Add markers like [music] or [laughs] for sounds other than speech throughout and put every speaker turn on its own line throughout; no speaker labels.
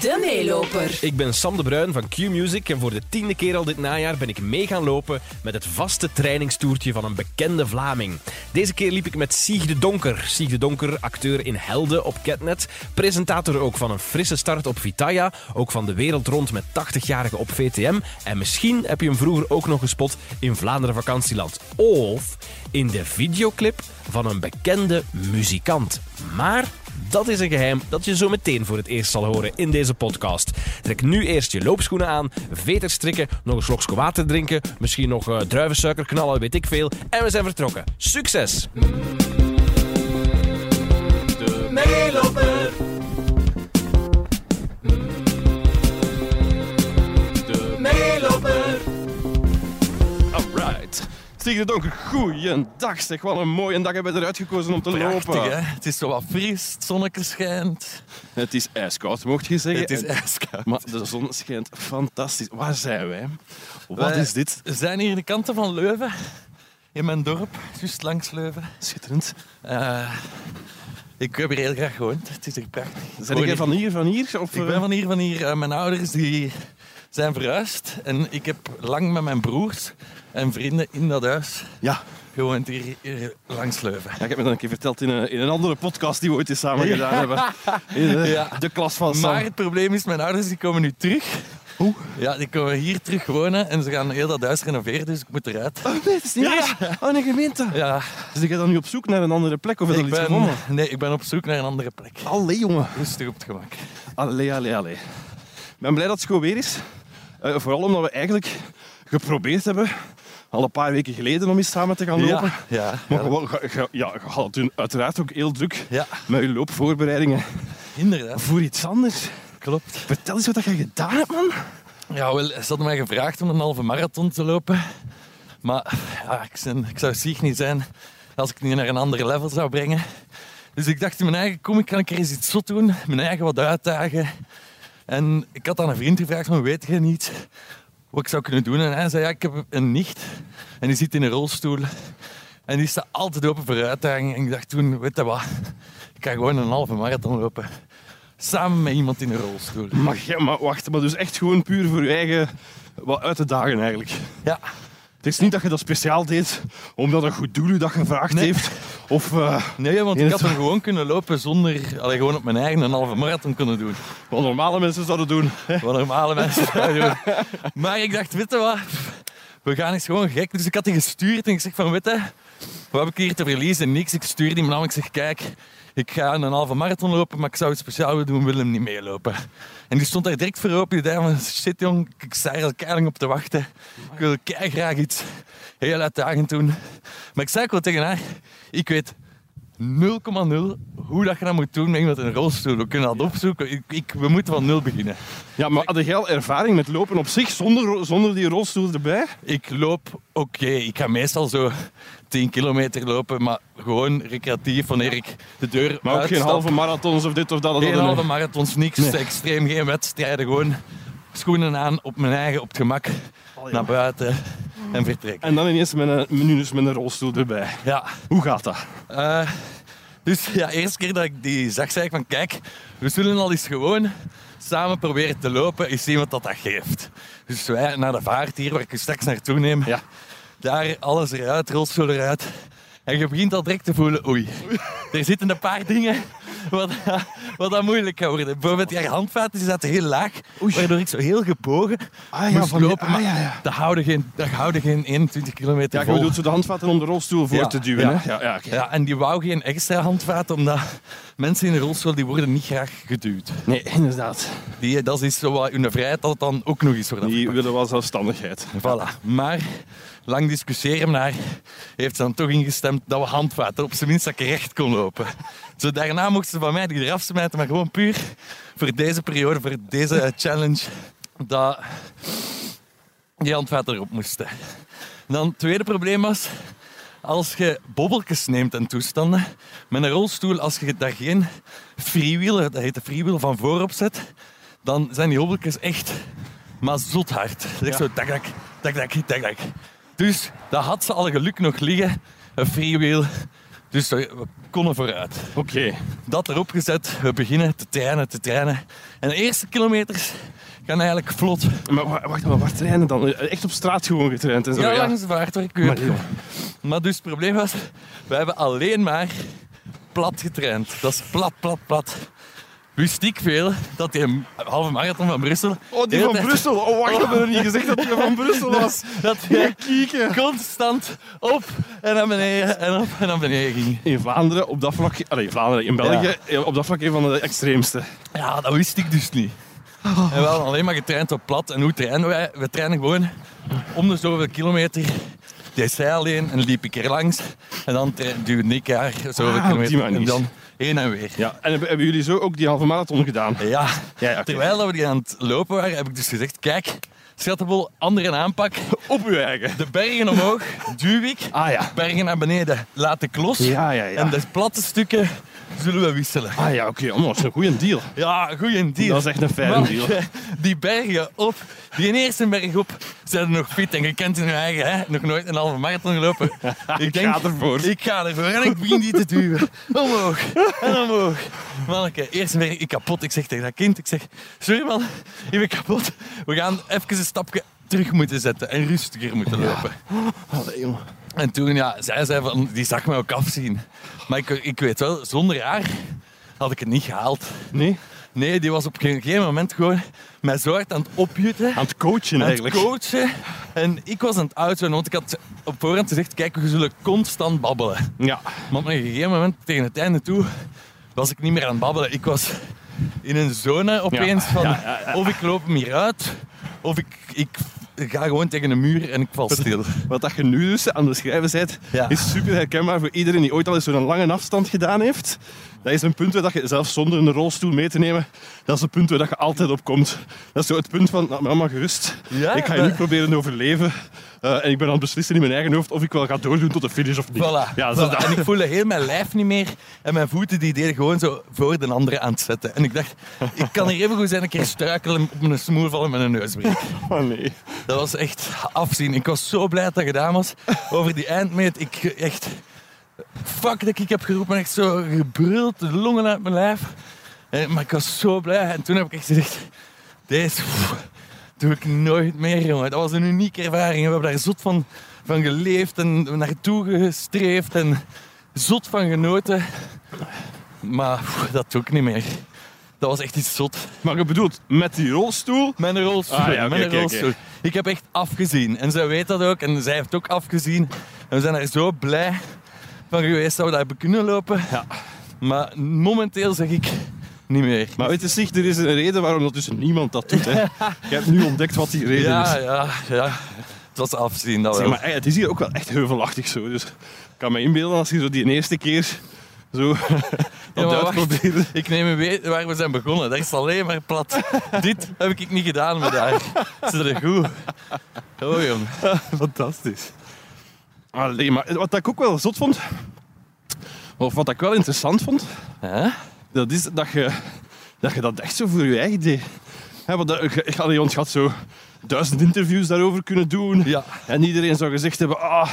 De meeloper.
Ik ben Sam de Bruin van Q-Music en voor de tiende keer al dit najaar ben ik mee gaan lopen met het vaste trainingstoertje van een bekende Vlaming. Deze keer liep ik met Sieg de Donker. Sieg de Donker, acteur in Helden op Catnet, presentator ook van een frisse start op Vitaya, ook van de wereld rond met 80-jarigen op VTM en misschien heb je hem vroeger ook nog gespot in Vlaanderen vakantieland of in de videoclip van een bekende muzikant. Maar dat is een geheim dat je zo meteen voor het eerst zal horen in deze podcast. Trek nu eerst je loopschoenen aan, veters strikken, nog een slokje water drinken, misschien nog eh, druivensuiker knallen, weet ik veel. En we zijn vertrokken. Succes! De meeloper. De meeloper.
Alright. Stig de Donker, goeiendag zeg. Wat een mooie dag hebben we eruit gekozen om te
Prachtig,
lopen.
hè? Het is zo wat fris, het zonnetje schijnt.
Het is ijskoud, mocht je zeggen.
Het is
En-
ijskoud.
Maar de zon schijnt fantastisch. Waar zijn wij? Wat
Wij-
is dit?
We zijn hier in de kanten van Leuven, in mijn dorp, juist langs Leuven.
Schitterend.
Eh, ik heb hier heel graag gewoond, het is hier prachtig.
Zijn
Hoor
jij
je-
van hier, van hier? Of,
Ik ben van hier, van hier. Eh, mijn ouders die zijn verhuisd en ik heb lang met mijn broers en vrienden in dat huis
eh, Ja.
gewoond hier, hier langs Leuven.
ja, ik heb me dat een keer verteld in een, in een andere podcast die we ooit eens samen gedaan hebben. In de,
Ja.
de klas van Sam.
Maar het probleem is, mijn ouders die komen nu terug.
Hoe?
Ja, die komen hier terug wonen en ze gaan heel dat huis renoveren, dus ik moet eruit.
Oh, nee, het is niet waar. Oh, een gemeente.
Ja,
Dus ik ga dan nu op zoek naar een andere plek of heb je
ik
al iets
ben,
gevonden?
nee, ik ben op zoek naar een andere plek.
Allee, jongen.
Rustig op het gemak.
Allee, allee, allee. Ik ben blij dat het schoon weer is. Eh, vooral omdat we eigenlijk geprobeerd hebben, al een paar weken geleden, om eens samen te gaan lopen.
Ja, ja,
Maar
ja,
gewoon, ge- ge- ja, je had het toen uiteraard ook heel druk
Ja.
met je loopvoorbereidingen
inderdaad.
voor iets anders.
Klopt.
Vertel eens wat je gedaan hebt, man.
Ja, wel, ze hadden mij gevraagd om een halve marathon te lopen. Maar ja, ik, zijn- ik zou ziek niet zijn als ik niet naar een ander level zou brengen. Dus ik dacht in mijn eigen, kom, ik kan ik er eens iets zot doen. Mijn eigen wat uitdagen. En ik had aan een vriend gevraagd, van, weet je niet wat ik zou kunnen doen? En hij zei, ja, ik heb een nicht. En die zit in een rolstoel. En die staat altijd open voor uitdagingen. En ik dacht toen, weet je wat? Ik ga gewoon een halve marathon lopen. Samen met iemand in een rolstoel.
Maar, ja, maar wacht, maar dus echt gewoon puur voor je eigen wat uit te dagen eigenlijk.
Ja,
Het is niet dat je dat speciaal deed omdat een goed doel u dat gevraagd
Nee.
heeft. Of, eh,
Nee, want
In
ik
het-
had hem gewoon kunnen lopen zonder... Allee, gewoon op mijn eigen een halve marathon kunnen doen.
wat normale mensen zouden doen.
Wat normale mensen zouden doen. Maar ik dacht, weet je wat? We gaan eens gewoon gek. Dus ik had die gestuurd en ik zeg van, weet je... Wat heb ik hier te verliezen? Niks. Ik stuurde hem namelijk. Ik zeg, kijk, ik ga een halve marathon lopen, maar ik zou het speciaal willen doen, wil hem niet meelopen. En die stond daar direct voor open. Die dacht van, shit jong, ik sta er al keilang op te wachten. Ik wil graag iets heel uitdagend doen. Maar ik zei ook wel tegen haar, ik weet 0,0 hoe dat je dat moet doen met iemand in een rolstoel. We kunnen dat opzoeken. Ik, ik- we moeten van nul beginnen.
Ja, maar had jij al ervaring met lopen op zich zonder, zonder die rolstoel erbij?
Ik loop oké. Ik ga meestal zo 10 kilometer lopen, maar gewoon recreatief wanneer ik de deur
Maar ook
uitstap.
geen halve marathons of dit of dat. dat
Geen
dat-
halve marathons, niks. Extreem geen wedstrijden. Gewoon schoenen aan op mijn eigen, op het gemak. naar buiten en vertrekken.
En dan ineens met een, met- nu dus met een rolstoel erbij.
Ja.
Hoe gaat dat?
Eh, dus ja, eerste keer dat ik die zag, zei ik van kijk, we zullen al eens gewoon samen proberen te lopen en zien wat dat, dat geeft. Dus wij naar de vaart hier, waar ik u straks naartoe neem.
Ja.
Daar alles eruit, rolstoel eruit. En je begint al direct te voelen, oei, er zitten een paar dingen wat, wat dat moeilijk gaat worden. Bijvoorbeeld, je handvaten zaten heel laag, waardoor ik zo heel gebogen
Ah, ja,
moest
van die-
lopen.
ah,
maar
ja, ja.
Dat houden geen, dat houden geen 21 kilometer
Ja, je
vol.
bedoelt zo de handvatten om de rolstoel voor
Ja,
te duwen.
ja.
hè? ja, ja, oké.
Ja, en die wou geen extra handvaten, omdat mensen in een rolstoel die worden niet graag geduwd.
Nee, inderdaad.
Die, dat is zo wat hun vrijheid dat dan ook nog eens wordt
Die
afgepakt.
willen wel zelfstandigheid.
Voilà. Maar lang discussiëren, maar heeft ze dan toch ingestemd dat we handvaten, op zijn minst dat ik recht kon lopen. Zo daarna mochten ze van mij die eraf smijten, maar gewoon puur voor deze periode, voor deze challenge, dat die handvaten erop moesten. En dan het tweede probleem was, als je bobbeltjes neemt en toestanden, met een rolstoel, als je daar geen freewheeler, dat heet de freewheel, van voorop zet, dan zijn die bobbeltjes echt maar zot hard. Dat is echt zo tak, tak, tak, tak, tak, tak. Dus dat had ze al geluk nog liggen, een freewheel Dus eh, we konden vooruit.
Oké.
Dat erop gezet, we beginnen te trainen, te trainen. En de eerste kilometers gaan eigenlijk vlot.
Maar wa- wacht, maar waar trainen dan? Echt op straat gewoon getraind en zo?
Ja, langs de vaartwerkuur.
Maar joh.
Maar dus het probleem was, we hebben alleen maar plat getraind. Dat is plat, plat, plat. Wist ik veel dat die halve marathon van Brussel...
Oh,
de
die
hele
van
tijd-
Brussel. Oh, wacht, we hebben er niet gezegd dat die van Brussel was.
Dat hij constant op en naar beneden en op en naar beneden ging.
In Vlaanderen, op dat vlak... Allee, in Vlaanderen, in België, eh, op dat vlak een van de extreemste.
Ja, dat wist ik dus niet. En we hadden alleen maar getraind op plat. En hoe trainen wij? We trainen gewoon om de zoveel kilometer. Deed zij alleen en liep ik er langs. En dan tra- duwde ik haar zoveel
Ah, op die
kilometer.
manier.
En dan heen en weer.
Ja. En hebben, hebben jullie zo ook die halve marathon gedaan?
Ja,
Ja, ja, oké.
terwijl dat we die aan het lopen waren, heb ik dus gezegd, kijk, schattenbol, andere aanpak.
Op uw eigen.
De bergen omhoog, duw ik.
Ah ja.
Bergen naar beneden, laat ik los.
Ja, ja, ja.
En de platte stukken zullen we wisselen.
Ah ja, oké. Oh, dat is een goede deal.
Ja, goeie deal.
Dat is echt een fijne
Maar, eh,
deal.
Die bergen op, die eerste berg op, zijn er nog fit. En je kent in je eigen, hè? nog nooit een halve marathon gelopen.
[laughs] Ik ga ervoor.
Ik ga ervoor en ik begin die te duwen. Omhoog en omhoog. Manneke, eerste berg, ik kapot. Ik zeg tegen dat kind, ik zeg, sorry man, ik ben kapot. We gaan even een stapje terug moeten zetten en rustiger moeten lopen.
Allee, jongen.
En toen, ja, zij zei van, die zag mij ook afzien. Maar ik, ik weet wel, zonder haar had ik het niet gehaald.
Nee?
Nee, die was op geen, geen moment gewoon mij zo hard aan het opjutten.
Aan het coachen
Aan het
Ah, eigenlijk.
coachen. En ik was aan het uitzoomen, want ik had op voorhand gezegd, kijk, we zullen constant babbelen.
ja.
Maar op een gegeven moment, tegen het einde toe, was ik niet meer aan het babbelen. Ik was in een zone opeens van, of ik loop hem hier uit, of ik, ik ga gewoon tegen een muur en ik val stil.
Wat dat je nu dus aan het schrijven bent,
Ja.
is super herkenbaar voor iedereen die ooit al eens zo'n lange afstand gedaan heeft. Dat is een punt waar dat je, zelfs zonder een rolstoel mee te nemen, dat is een punt waar dat je altijd op komt. Dat is zo het punt van, nou, maar allemaal gerust.
Ja,
ik ga je
dat-
nu proberen overleven. eh, en ik ben aan het beslissen in mijn eigen hoofd of ik wel ga doordoen tot de finish of
[laughs]
niet.
Voilà.
Ja,
voilà.
zo dat.
En ik voelde heel mijn lijf niet meer. En mijn voeten die deden gewoon zo voor de andere aan het zetten. En ik dacht, ik kan hier even goed zijn een keer struikelen op mijn smoer vallen met een neusbreek.
Oh, nee.
Dat was echt afzien. Ik was zo blij dat dat gedaan was. Over die eindmeet, ik echt... Fuck dat ik heb geroepen. Echt zo gebruld, de longen uit mijn lijf. En, maar ik was zo blij. En toen heb ik echt gezegd... Deze pff, doe ik nooit meer, jongen. Dat was een unieke ervaring. We hebben daar zot van, van geleefd en naartoe gestreefd. En zot van genoten. Maar pff, dat doe ik niet meer. Dat was echt iets zot.
Maar je bedoelt, met die rolstoel...
Mijn rolstoel.
Ah, ja, oké,
mijn
oké, oké.
rolstoel. Ik heb echt afgezien. En zij weet dat ook. En zij heeft ook afgezien. En we zijn er zo blij van geweest dat we daar hebben kunnen lopen.
Ja.
Maar momenteel zeg ik niet meer.
Maar het is zich, er is een reden waarom dat dus niemand dat doet. Hè.
[laughs]
Je hebt nu ontdekt wat die reden is.
ja, ja, ja. Het was afzien, dat
Zeg
wel.
maar, ey, het is hier ook wel echt heuvelachtig zo. Dus ik kan me inbeelden als je zo die eerste keer zo
Ja,
[laughs] dat
maar
duit
wacht.
probeerde.
Ik neem u mee waar we zijn begonnen. Dat is alleen maar
[laughs]
plat. Dit heb ik niet gedaan met haar. Ze is goed. Oh, jong.
Fantastisch. Allee, maar wat ik ook wel zot vond, of wat ik wel interessant vond,
Hè?
dat is dat je dat, je dat echt zo voor je eigen deed. Hè, want dat- ik- ik- allee, ons gaat zo duizend interviews daarover kunnen doen.
Ja.
En iedereen zou gezegd hebben, ah,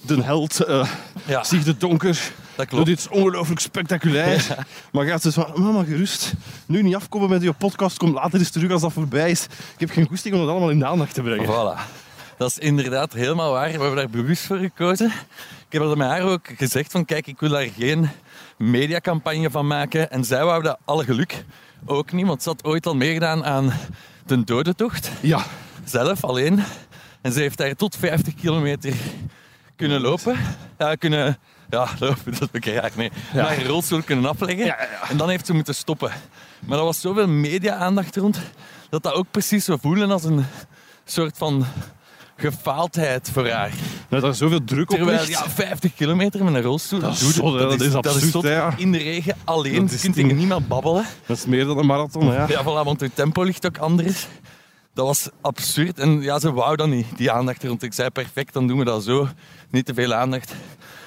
de held, eh
Ja,
zich de donker.
dat
Doe
klopt.
dit is ongelooflijk spectaculair. Maar gaat ze van, mama gerust, nu niet afkomen met je podcast, kom later eens terug als dat voorbij is. Ik heb geen goesting om dat allemaal in de aandacht te brengen.
Voilà. Dat is inderdaad helemaal waar. We hebben daar bewust voor gekozen. Ik heb dat met haar ook gezegd van kijk, ik wil daar geen mediacampagne van maken. En zij wou dat alle geluk ook niet, want ze had ooit al meegedaan aan de dodentocht.
Ja,
Zelf alleen. En ze heeft daar tot 50 kilometer kunnen lopen. Ja, kunnen... Ja, lopen, dat ben ik raar, nee.
Ja.
Maar een rolstoel kunnen afleggen.
Ja, ja, ja.
En dan heeft ze moeten stoppen. Maar er was zoveel media-aandacht rond, dat dat ook precies zo voelen als een soort van gefaaldheid voor haar.
dat er Nou, zoveel druk op
Terwijl,
ligt.
ja, 50 kilometer met een rolstoel,
Dat is
doe je-
zot, hè. Dat is absurd,
zot.
hè, ja.
In de regen, alleen.
Dat
Je
is
kunt
niet-
tegen niemand babbelen.
Dat is meer dan een marathon, hè, ja.
Ja, voilà, want het tempo ligt ook anders. Dat was absurd. En ja, ze wou dat niet, die aandacht rond. Ik zei, perfect, dan doen we dat zo. Niet te veel aandacht.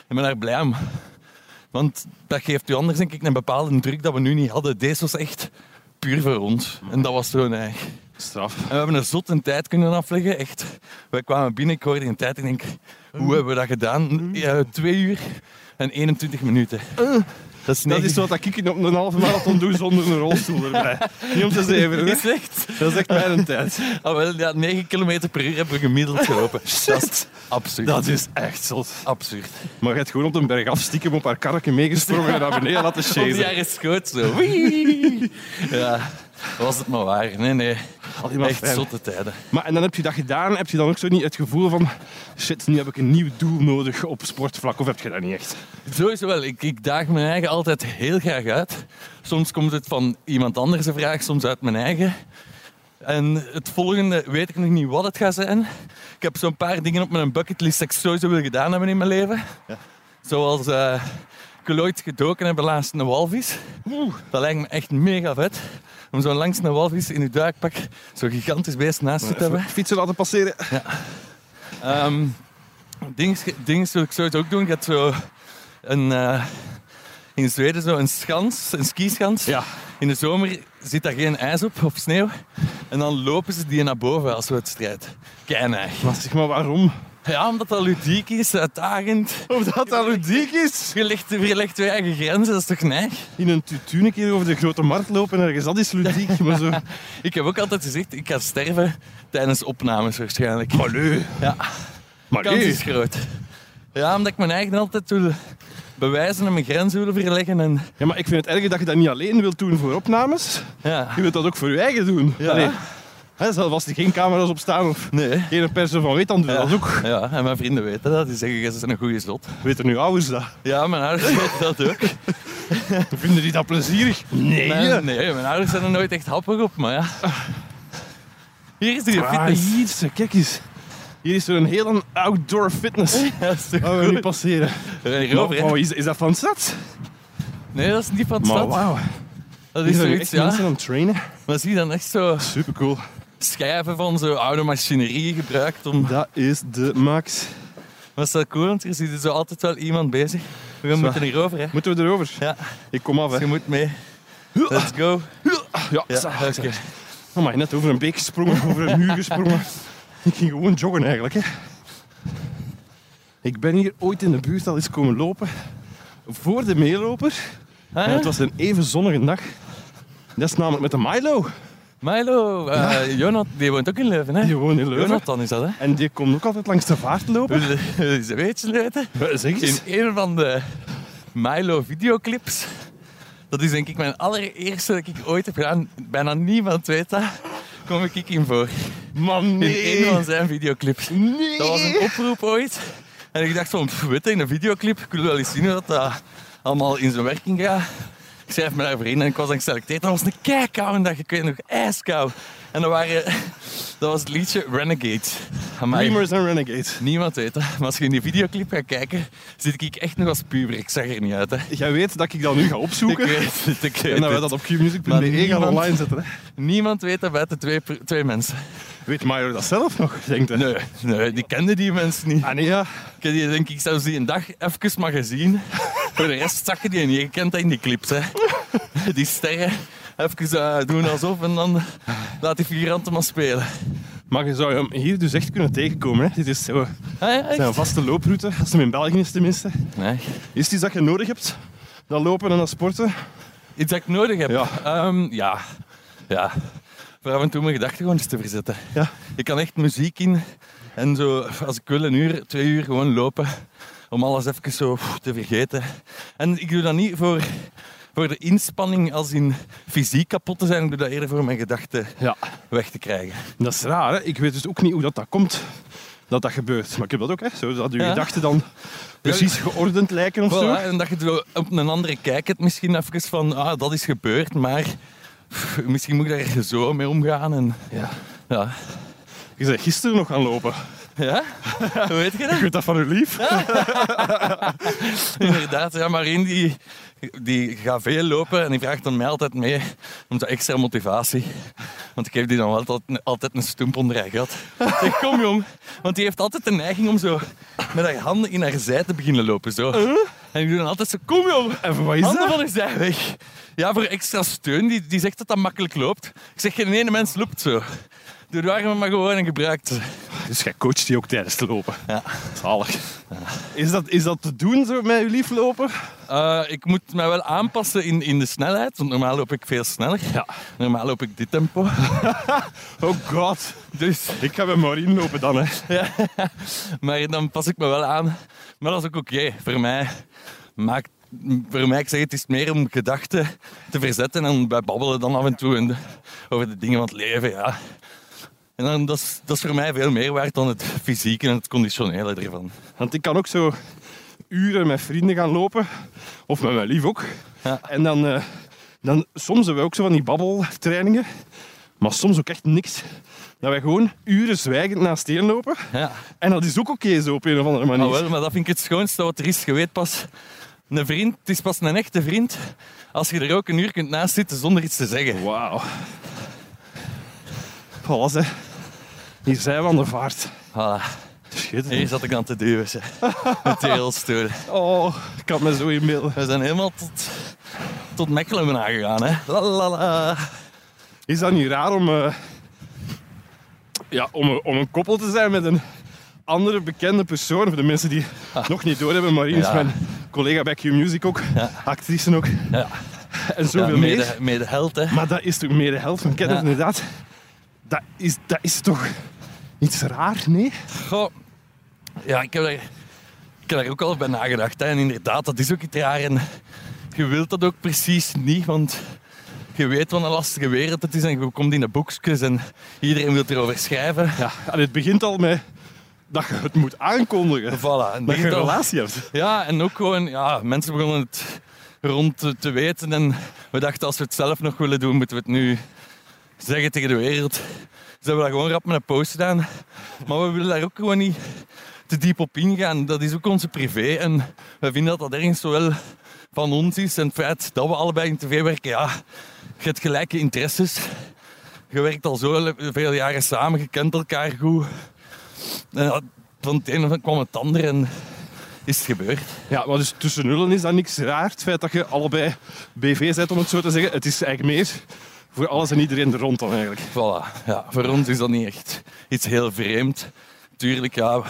Ik ben daar blij om. Want dat geeft u anders, denk ik, een bepaalde druk dat we nu niet hadden. Deze was echt puur voor ons. En dat was zo neig.
Straf.
En we hebben er zot een tijd kunnen afleggen. Echt. Wij kwamen binnen, ik hoorde een tijd en ik denk, hoe hebben we dat gedaan? Ja, twee uur en 21 minuten. Eh. Dat is,
Dat is
[laughs]
wat ik in op een halve marathon doe zonder een rolstoel erbij. Niet om te zeven. hè.
Is echt?
Dat is echt mijn tijd.
Ah, wel, ja, 9 km per uur hebben we gemiddeld gelopen. Dat is absurd.
Dat is echt zot.
absurd.
Maar je hebt gewoon op een berg af stiekem op haar karretje meegesprongen en naar beneden laten
Op Oh, die
shaden.
jaren schoot zo. Wee! Ja, was het maar waar. Nee, nee.
Alleen maar
Echt
fijn.
zotte tijden.
Maar en dan heb je dat gedaan, heb je dan ook zo niet het gevoel van shit, nu heb ik een nieuw doel nodig op sportvlak, of heb je dat niet echt?
Sowieso wel. Ik, ik daag mijn eigen altijd heel graag uit. Soms komt het van iemand anders een vraag, soms uit mijn eigen. En het volgende weet ik nog niet wat het gaat zijn. Ik heb zo'n paar dingen op mijn bucketlist dat ik sowieso wil gedaan hebben in mijn leven. Zoals eh ik wil ooit gedoken hebben laatst een walvis. Dat lijkt me echt mega vet. Om zo langs een walvis in je duikpak zo'n gigantisch beest naast je te hebben.
Fietsen laten passeren.
Ehm dings, dings wil ik sowieso ook doen. Ik had zo een, eh, in Zweden zo een schans, een skischans.
Ja.
In de zomer zit daar geen ijs op, of sneeuw. En dan lopen ze die naar boven als wedstrijd. Keinig.
Maar zeg maar waarom?
Ja, omdat dat ludiek is, uitdagend.
Of dat dat ludiek is?
Je legt, je legt je eigen grenzen, dat is toch neig?
In een tutu een keer over de grote markt lopen ergens, dat is ludiek. Maar zo,
Ik heb ook altijd gezegd, ik ga sterven tijdens opnames waarschijnlijk.
allee,
Ja.
maar
kans
nee.
is groot. Ja, omdat ik mijn eigen altijd wil bewijzen en mijn grenzen wil verleggen. En,
Ja, maar ik vind het erg dat je dat niet alleen wilt doen voor opnames.
ja.
Je wilt dat ook voor je eigen doen.
Ja.
Allee. Hè, zelfs als er geen camera's op staan of
Nee.
geen persen van weet, dan doe je dat ook.
Ja, en mijn vrienden weten dat. Die zeggen, ze zijn een goede zot.
Weten nu ouders dat?
Ja, mijn ouders [laughs] weten dat ook.
Vinden die dat plezierig? Nee.
Nee, nee, mijn ouders zijn er nooit echt happig op, maar ja. Hier is die
Ah,
fitness.
hier, ze, kijk eens. Hier is er een heel een outdoor fitness.
[laughs] Ja, dat is toch
Gaan we nu
goed.
passeren.
We zijn hierover,
Maar-
hè.
maar is, is dat van de stad?
Nee, dat is niet van het
Maar
stad.
wauw.
Dat
Is
is
er nu
zoiets,
echt mensen
ja.
aan het trainen?
Maar zie je dan echt zo
Supercool.
schijven van zo oude machinerie gebruikt om...
Dat is de max.
Maar is dat cool, want hier zit er zo altijd wel iemand bezig. We gaan
Zwaar.
moeten hierover, hè.
Moeten we erover?
Ja,
Ik kom af,
dus je
hè.
moet mee. Let's go.
Ja,
Ja,
ja.
oké.
Amai, Ah, net over een beek gesprongen, over een muur gesprongen. [laughs] Ik ging gewoon joggen eigenlijk. Hè. Ik ben hier ooit in de buurt al eens komen lopen. Voor de meeloper.
Ah,
En het was een even zonnige dag. Dat is namelijk met de Milo.
Milo, eh Jonat, die woont ook in Leuven, hè?
Die woont in Leuven.
Jonathan is dat, hè?
En die komt ook altijd langs de vaart lopen.
Ze weet je weten.
Zeg
In een van de Milo videoclips. Dat is denk ik mijn allereerste dat ik ooit heb gedaan. Bijna niemand weet dat. Kom ik in voor.
Man,
In
nee.
een van zijn videoclips.
Nee.
Dat was [laughs] een oproep ooit. En ik dacht van, pff, weet je, in een videoclip, ik wil wel eens zien hoe dat, dat allemaal in zijn werking gaat. Ik schrijf me daarvoor in en ik was dan geselecteerd. Dat was een keikoude dag, ik weet nog, ijskou. En dat, waren, [laughs] dat was het liedje Renegade. Amai.
Dreamers en Renegades.
Niemand weet dat. Maar als je in die videoclip gaat kijken, zit ik echt nog als puber. Ik zag er niet uit, hè.
Jij weet dat ik dat nu ga
Ik
opzoeken.
weet het, ik weet
[laughs] en dat wij
het.
dat op
Maar
qmusic.be gaan
niemand-
online zetten. Hè.
Niemand weet dat buiten twee, per- twee mensen.
Weet Milo dat zelf nog? Denkt hij.
Nee, nee, die kenden die mensen niet.
Ah nee, ja.
Ik heb die denk ik zelfs die een dag even maar gezien. [laughs] Voor de rest zag je die niet. Je kent dat in die clips, hè. [laughs] Die sterren even eh, doen alsof en dan laat die figuranten maar spelen.
Maar je zou hem hier dus echt kunnen tegenkomen. Hè. Dit is zo,
Ah, ja, echt?
zijn vaste looproute, als hem in België is tenminste.
Nee.
Is het iets dat je nodig hebt? Dat lopen en dat sporten?
Iets dat ik nodig heb?
Ja.
Ehm, ja. Ja. Voor af en toe mijn gedachten gewoon eens te verzetten.
Ja.
Ik kan echt muziek in en zo, als ik wil, een uur, twee uur gewoon lopen. Om alles even zo pff, te vergeten. En ik doe dat niet voor, voor de inspanning als in fysiek kapot te zijn. Ik doe dat eerder voor mijn gedachten
Ja.
weg te krijgen.
Dat is raar, hè? Ik weet dus ook niet hoe dat, dat komt, dat dat gebeurt. Maar ik heb dat ook, hè? Zo, dat je
Ja.
gedachten dan precies geordend lijken of zo.
Voilà, en dat je zo op een andere kijkt misschien even van, ah, dat is gebeurd, maar pff, misschien moet ik daar zo mee omgaan. En,
Ja.
ja.
Je zei gisteren nog gaan lopen. [laughs]
Ja? Hoe weet je dat?
Ik weet dat van uw lief.
[laughs] Inderdaad, ja, Marien die, die gaat veel lopen en die vraagt dan mij altijd mee om zo extra motivatie. Want ik geef die dan wel altijd, altijd een stoemp onder haar gat. Ik Zeg, kom jong. Want die heeft altijd de neiging om zo met haar handen in haar zij te beginnen lopen. Zo. En ik doe dan altijd zo, kom joh,
En wat is
handen
dat?
van zij weg. Ja, voor extra steun, die, die zegt dat dat makkelijk loopt. Ik zeg, geen ene mens loopt zo. Doe de armen maar gewoon en gebruik ze.
Dus jij coacht die ook tijdens het lopen.
Ja.
Zalig. Is dat, is dat te doen zo met je lieflopen?
Eh, ik moet mij wel aanpassen in, in de snelheid, want normaal loop ik veel sneller. Normaal loop ik dit tempo. [laughs]
Oh god.
Dus,
Ik ga bij Maureen lopen dan, hè.
maar dan pas ik me wel aan. Maar dat is ook oké. Voor mij maakt... Voor mij, ik zeg, het is meer om gedachten te verzetten en bij babbelen dan af en toe en de- over de dingen van het leven, ja. En dan, dat, is, dat is voor mij veel meer waard dan het fysieke en het conditionele ervan.
Want ik kan ook zo uren met vrienden gaan lopen. Of met mijn lief ook.
Ja.
En dan, eh, dan soms hebben we ook zo van die babbeltrainingen. Maar soms ook echt niks. Dat wij gewoon uren zwijgend naast één lopen.
Ja.
En dat is ook oké zo op een of andere manier.
Ah, wel, maar dat vind ik het schoonste wat er is. Je weet pas, een vriend, het is pas een echte vriend als je er ook een uur kunt naast zitten zonder iets te zeggen.
Wauw. Alles, hè. Hier zijn we aan de vaart.
Voilà. Hier
Schitterend.
zat ik aan te duwen, ze. Met wereldstoelen.
Oh, ik had me zo inbeelden.
We zijn helemaal tot, tot Mechelen aangegaan, hè. La, la, la.
Is dat niet raar om, eh, ja, om, een- om een koppel te zijn met een andere bekende persoon? Voor de mensen die nog niet doorhebben, Marien is
Ja.
mijn collega bij Q-Music ook, actrice ook,
Ja. Ja,
en zoveel meer.
mede, mede held, hè.
Maar dat is toch meer de helft van kennis,
Ja.
inderdaad. Dat is, dat is toch iets raar, nee?
Goh. Ja, ik heb, daar, ik heb daar ook al bij nagedacht. Hè. En inderdaad, dat is ook iets raar. En je wilt dat ook precies niet, want je weet wat een lastige wereld het is. En je komt in de boekjes en iedereen wil erover schrijven.
Ja, en het begint al met dat je het moet aankondigen.
Voilà. en
Dat je een
begint al-
relatie hebt.
Ja, en ook gewoon, ja, mensen begonnen het rond te, te weten. En we dachten, als we het zelf nog willen doen, moeten we het nu zeggen tegen de wereld. Dus hebben we dat gewoon rap met een post gedaan. Maar we willen daar ook gewoon niet te diep op ingaan. Dat is ook onze privé. En we vinden dat dat ergens wel van ons is. En het feit dat we allebei in tv werken, ja, je hebt gelijke interesses. Je werkt al zo le- veel jaren samen, je kent elkaar goed. En ja, van het ene kwam het ander en is het gebeurd.
Ja, maar dus tussen nullen is dat niks raar. Het feit dat je allebei BV zet, om het zo te zeggen. Het is eigenlijk meer voor alles en iedereen er rond dan eigenlijk.
Voilà, ja, voor ons is dat niet echt iets heel vreemd. Tuurlijk, ja,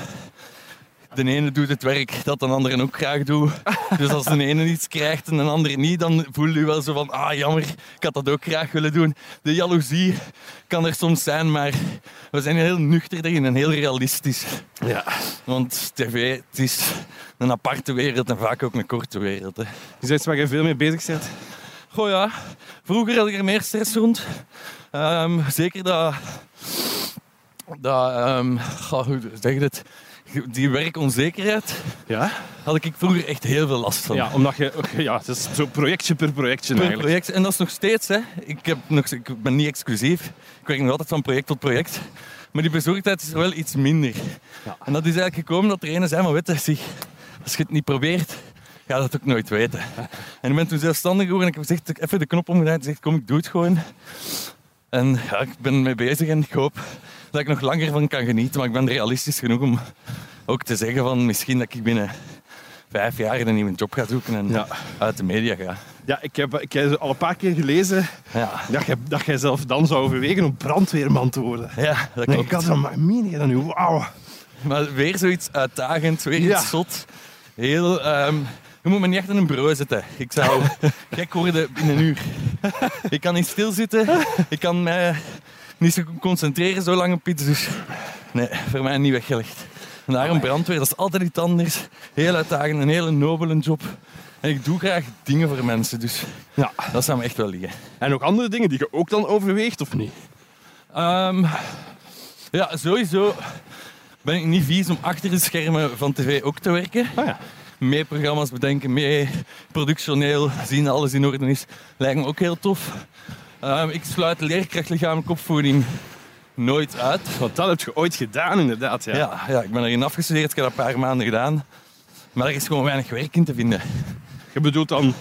de ene doet het werk dat de andere ook graag doet. Dus als de ene iets krijgt en de andere niet, dan voel je wel zo van, ah jammer, ik had dat ook graag willen doen. De jaloezie kan er soms zijn, maar we zijn heel nuchter daarin en heel realistisch.
Ja.
Want tv, het is een aparte wereld en vaak ook een korte wereld. Hè.
Is dat iets waar je veel mee bezig bent?
Goh ja, vroeger had ik er meer stress rond. Ehm, zeker dat... dat ehm, goh, hoe zeg je het? Die werkonzekerheid
Ja.
had ik vroeger echt heel veel last van.
Ja, omdat je... oké, Ja, het is zo projectje per projectje
Per
eigenlijk.
project. En dat is nog steeds, hè. Ik, heb nog, ik ben niet exclusief. Ik werk nog altijd van project tot project. Maar die bezorgdheid is er wel iets minder. En dat is eigenlijk gekomen dat er ene zei, maar weet je, zie, als je het niet probeert, ga je dat ook nooit weten. En ik ben toen zelfstandig geworden en ik heb gezegd, even de knop omgedraaid en gezegd, kom, ik doe het gewoon. En ja, ik ben mee bezig en ik hoop dat ik nog langer van kan genieten. Maar ik ben realistisch genoeg om ook te zeggen van, misschien dat ik binnen vijf jaar een nieuwe job ga zoeken en
Ja.
uit de media ga.
Ja, ik heb, ik heb al een paar keer gelezen
Ja.
dat jij, dat jij zelf dan zou overwegen om brandweerman te worden.
Ja, dat
Nee,
klopt.
ik had van, maar meen je dat nu? Wauw.
Maar weer zoiets uitdagend, weer
Ja.
iets zot. Heel, ehm, je moet me niet echt in een bureau zitten. Ik
[laughs]
zou gek worden binnen een uur. Ik kan niet stilzitten. Ik kan mij niet zo concentreren zo lang op iets. Dus nee, voor mij niet weggelegd. En daarom brandweer, dat is altijd iets anders. Heel uitdagend, een hele nobele job. En ik doe graag dingen voor mensen, dus
Ja.
dat zou me echt wel liggen.
En nog andere dingen die je ook dan overweegt, of niet?
Ehm, ja, sowieso ben ik niet vies om achter de schermen van tv ook te werken.
Ah ja.
Mee programma's bedenken, mee productioneel zien dat alles in orde is. Lijkt me ook heel tof. Ehm, ik sluit leerkracht lichamelijke opvoeding nooit uit.
Want dat heb je ooit gedaan, inderdaad. Ja.
Ja, ja, ik ben erin afgestudeerd, ik heb dat een paar maanden gedaan. Maar er is gewoon weinig werk in te vinden.
Je bedoelt dan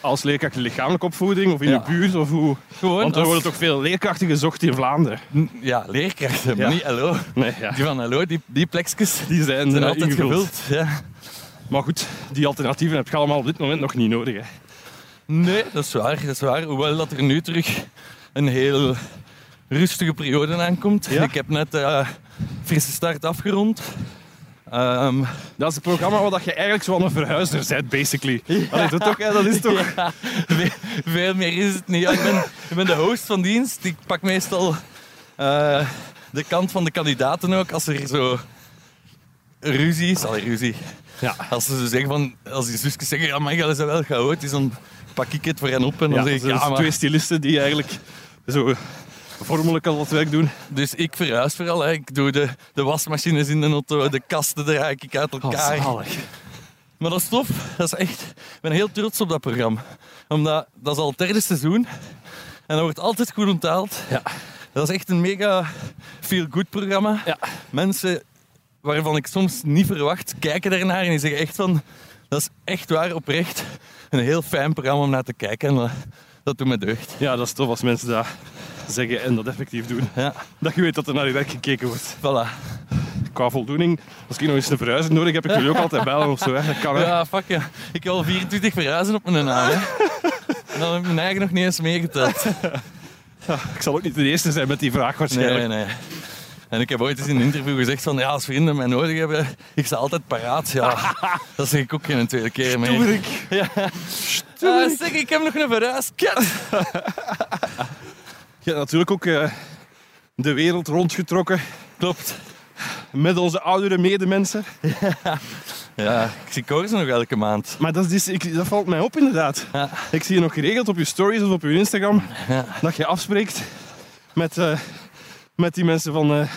als leerkracht lichamelijke opvoeding of in
Ja.
de buurt of hoe?
Gewoon
Want er
als-
worden toch veel leerkrachten gezocht in Vlaanderen?
N- Ja, leerkrachten, maar
Ja.
niet hallo.
Nee, ja.
Die van hallo, die, die plekjes
Die zijn,
zijn
eh,
altijd
ingevuld.
gevuld. Ja.
Maar goed, die alternatieven heb je allemaal op dit moment nog niet nodig. Hè.
Nee, dat is waar, dat is waar. Hoewel dat er nu terug een heel rustige periode aankomt.
Ja?
Ik heb net eh frisse start afgerond. Ehm,
Dat is het programma waar dat je eigenlijk zo'n een verhuizer bent, basically. Allee, dat, toch, hè, dat is toch...
ja, ve- veel meer is het niet. Ja, ik, ben, ik ben de host van dienst. Ik pak meestal eh, de kant van de kandidaten ook als er zo ruzie is. Allee, ruzie.
Ja.
Als ze zo zeggen van, als die zusjes zeggen, ja maar jij is wel chaotisch, dan pak ik het voor hen op en dan
Ja,
zeg
dat
ik,
zijn
ja maar...
twee stilisten die eigenlijk zo vormelijk al wat werk doen.
Dus ik verhuis vooral. Hè. Ik doe de, de wasmachines in de auto, de kasten draai ik uit elkaar.
Oh,
maar dat is tof. Dat is echt, ik ben heel trots op dat programma. Omdat dat is al het derde seizoen. En dat wordt altijd goed onthaald.
Ja.
Dat is echt een mega feel-good programma.
Ja.
Mensen waarvan ik soms niet verwacht, kijken daarnaar en die zeggen echt van... Dat is echt waar, oprecht, een heel fijn programma om naar te kijken. En eh, dat doet me deugd.
ja, dat is tof als mensen dat zeggen en dat effectief doen.
Ja,
Dat je weet dat er naar je werk gekeken wordt.
voilà.
Qua voldoening, als ik nog eens een verhuizer nodig heb, ik jullie ook altijd bellen of zo. Hè. Dat kan, hè.
Ja, fuck ja. Ik heb al 24 verhuizen op mijn naam. Hè. En dan heb ik mijn eigen nog niet eens meegeteld.
Ik zal ook niet de eerste zijn met die vraag
Nee,
waarschijnlijk.
nee, nee. En ik heb ooit eens in een interview gezegd van, ja, als vrienden mij nodig hebben, ik sta altijd paraat. Ja, dat zeg ik ook geen tweede keer meer.
Toerik.
Ah, zeg, ik heb nog een verhuis. Kut.
Je hebt natuurlijk ook eh, de wereld rondgetrokken
Klopt.
met onze oudere medemensen.
Ja, ik zie Koos nog elke maand.
Maar dat, is, dus- ik, dat valt mij op inderdaad.
Ja.
Ik zie je nog geregeld op je stories of op je Instagram
Ja.
dat je afspreekt met, eh, met die mensen van, eh,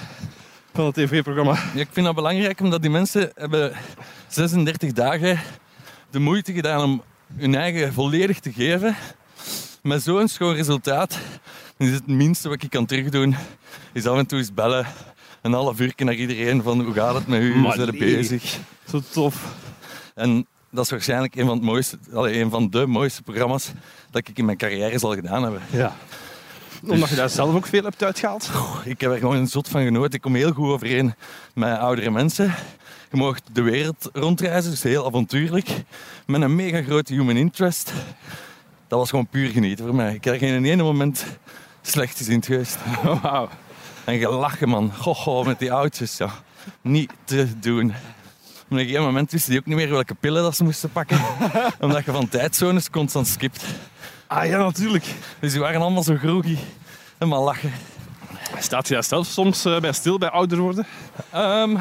van het tv-programma.
Ja, ik vind dat belangrijk omdat die mensen hebben 36 dagen de moeite gedaan om hun eigen volledig te geven. Met zo'n schoon resultaat is het minste wat ik kan terugdoen, is af en toe eens bellen. Een half uur naar iedereen van hoe gaat het met u, hoe
Maar
zijn er
nee.
bezig.
Zo tof.
En dat is waarschijnlijk een van, het mooiste, allee, een van de mooiste programma's dat ik in mijn carrière zal gedaan hebben.
Ja. Omdat je daar zelf ook veel hebt uitgehaald.
Ik heb er gewoon een zot van genoten. Ik kom heel goed overeen met oudere mensen. Je mag de wereld rondreizen, dus heel avontuurlijk. Met een mega grote human interest. Dat was gewoon puur genieten voor mij. Ik heb er geen ene moment slecht gezien geweest.
Wauw.
En gelachen, man. Goh, goh, met die oudjes. Ja. Niet te doen. Op een gegeven moment wisten die ook niet meer welke pillen dat ze moesten
[laughs]
pakken. omdat je van tijdzones constant skipt.
Ah ja, natuurlijk.
Dus die waren allemaal zo groegie. Helemaal lachen.
Staat je daar zelf soms eh, bij stil, bij ouder worden?
Ehm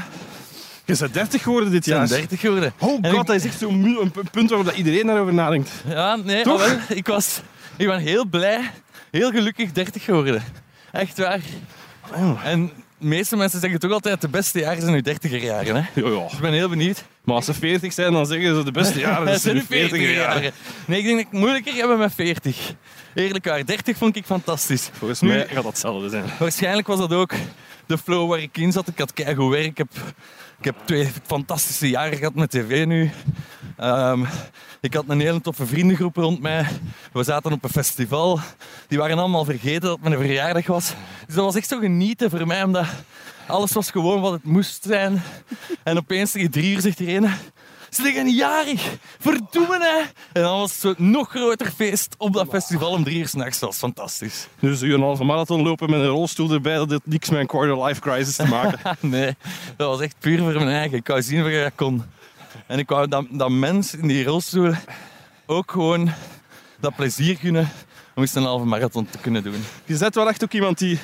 Je bent 30 geworden dit
ik ben
jaar.
30 geworden.
Oh god,
En ik-
dat is echt zo'n mu- een p- punt waarop dat iedereen daarover nadenkt.
Ja, nee,
Toch?
alhoewel, ik was ik ben heel blij, heel gelukkig 30 geworden. Echt waar. En de meeste mensen zeggen toch altijd, de beste jaren zijn nu 30er jaren. Hè?
Ja, ja.
Ik ben heel benieuwd.
Maar als ze 40 zijn, dan zeggen ze de
[laughs]
beste jaren.
Het
Dat
zijn nu
zijn de 40 jaren.
Nee, ik denk dat ik het moeilijker heb met 40. Eerlijk waar, 30 vond ik fantastisch.
Volgens
Nu-
mij gaat dat hetzelfde zijn.
[laughs] Waarschijnlijk was dat ook de flow waar ik in zat. Ik had keigoed werk. Ik heb, ik heb twee fantastische jaren gehad met tv nu. Ehm, ik had een hele toffe vriendengroep rond mij. We zaten op een festival. Die waren allemaal vergeten dat het mijn verjaardag was. Dus dat was echt zo genieten voor mij, omdat alles was gewoon wat het moest zijn. En opeens tegen drie uur zegt Irene... Ze liggen jarig! Verdoemen, hè! En dan was het zo'n nog groter feest op dat festival om drie uur s'nachts. Dat was fantastisch.
Dus een halve marathon lopen met een rolstoel erbij, dat heeft niks met een quarter life crisis te
[laughs]
maken.
Nee, dat was echt puur voor mijn eigen. Ik wou zien wat ik kon. En ik wou dat, dat mens in die rolstoel ook gewoon dat plezier gunnen om eens een halve marathon te kunnen doen.
Je zet wel echt ook iemand die,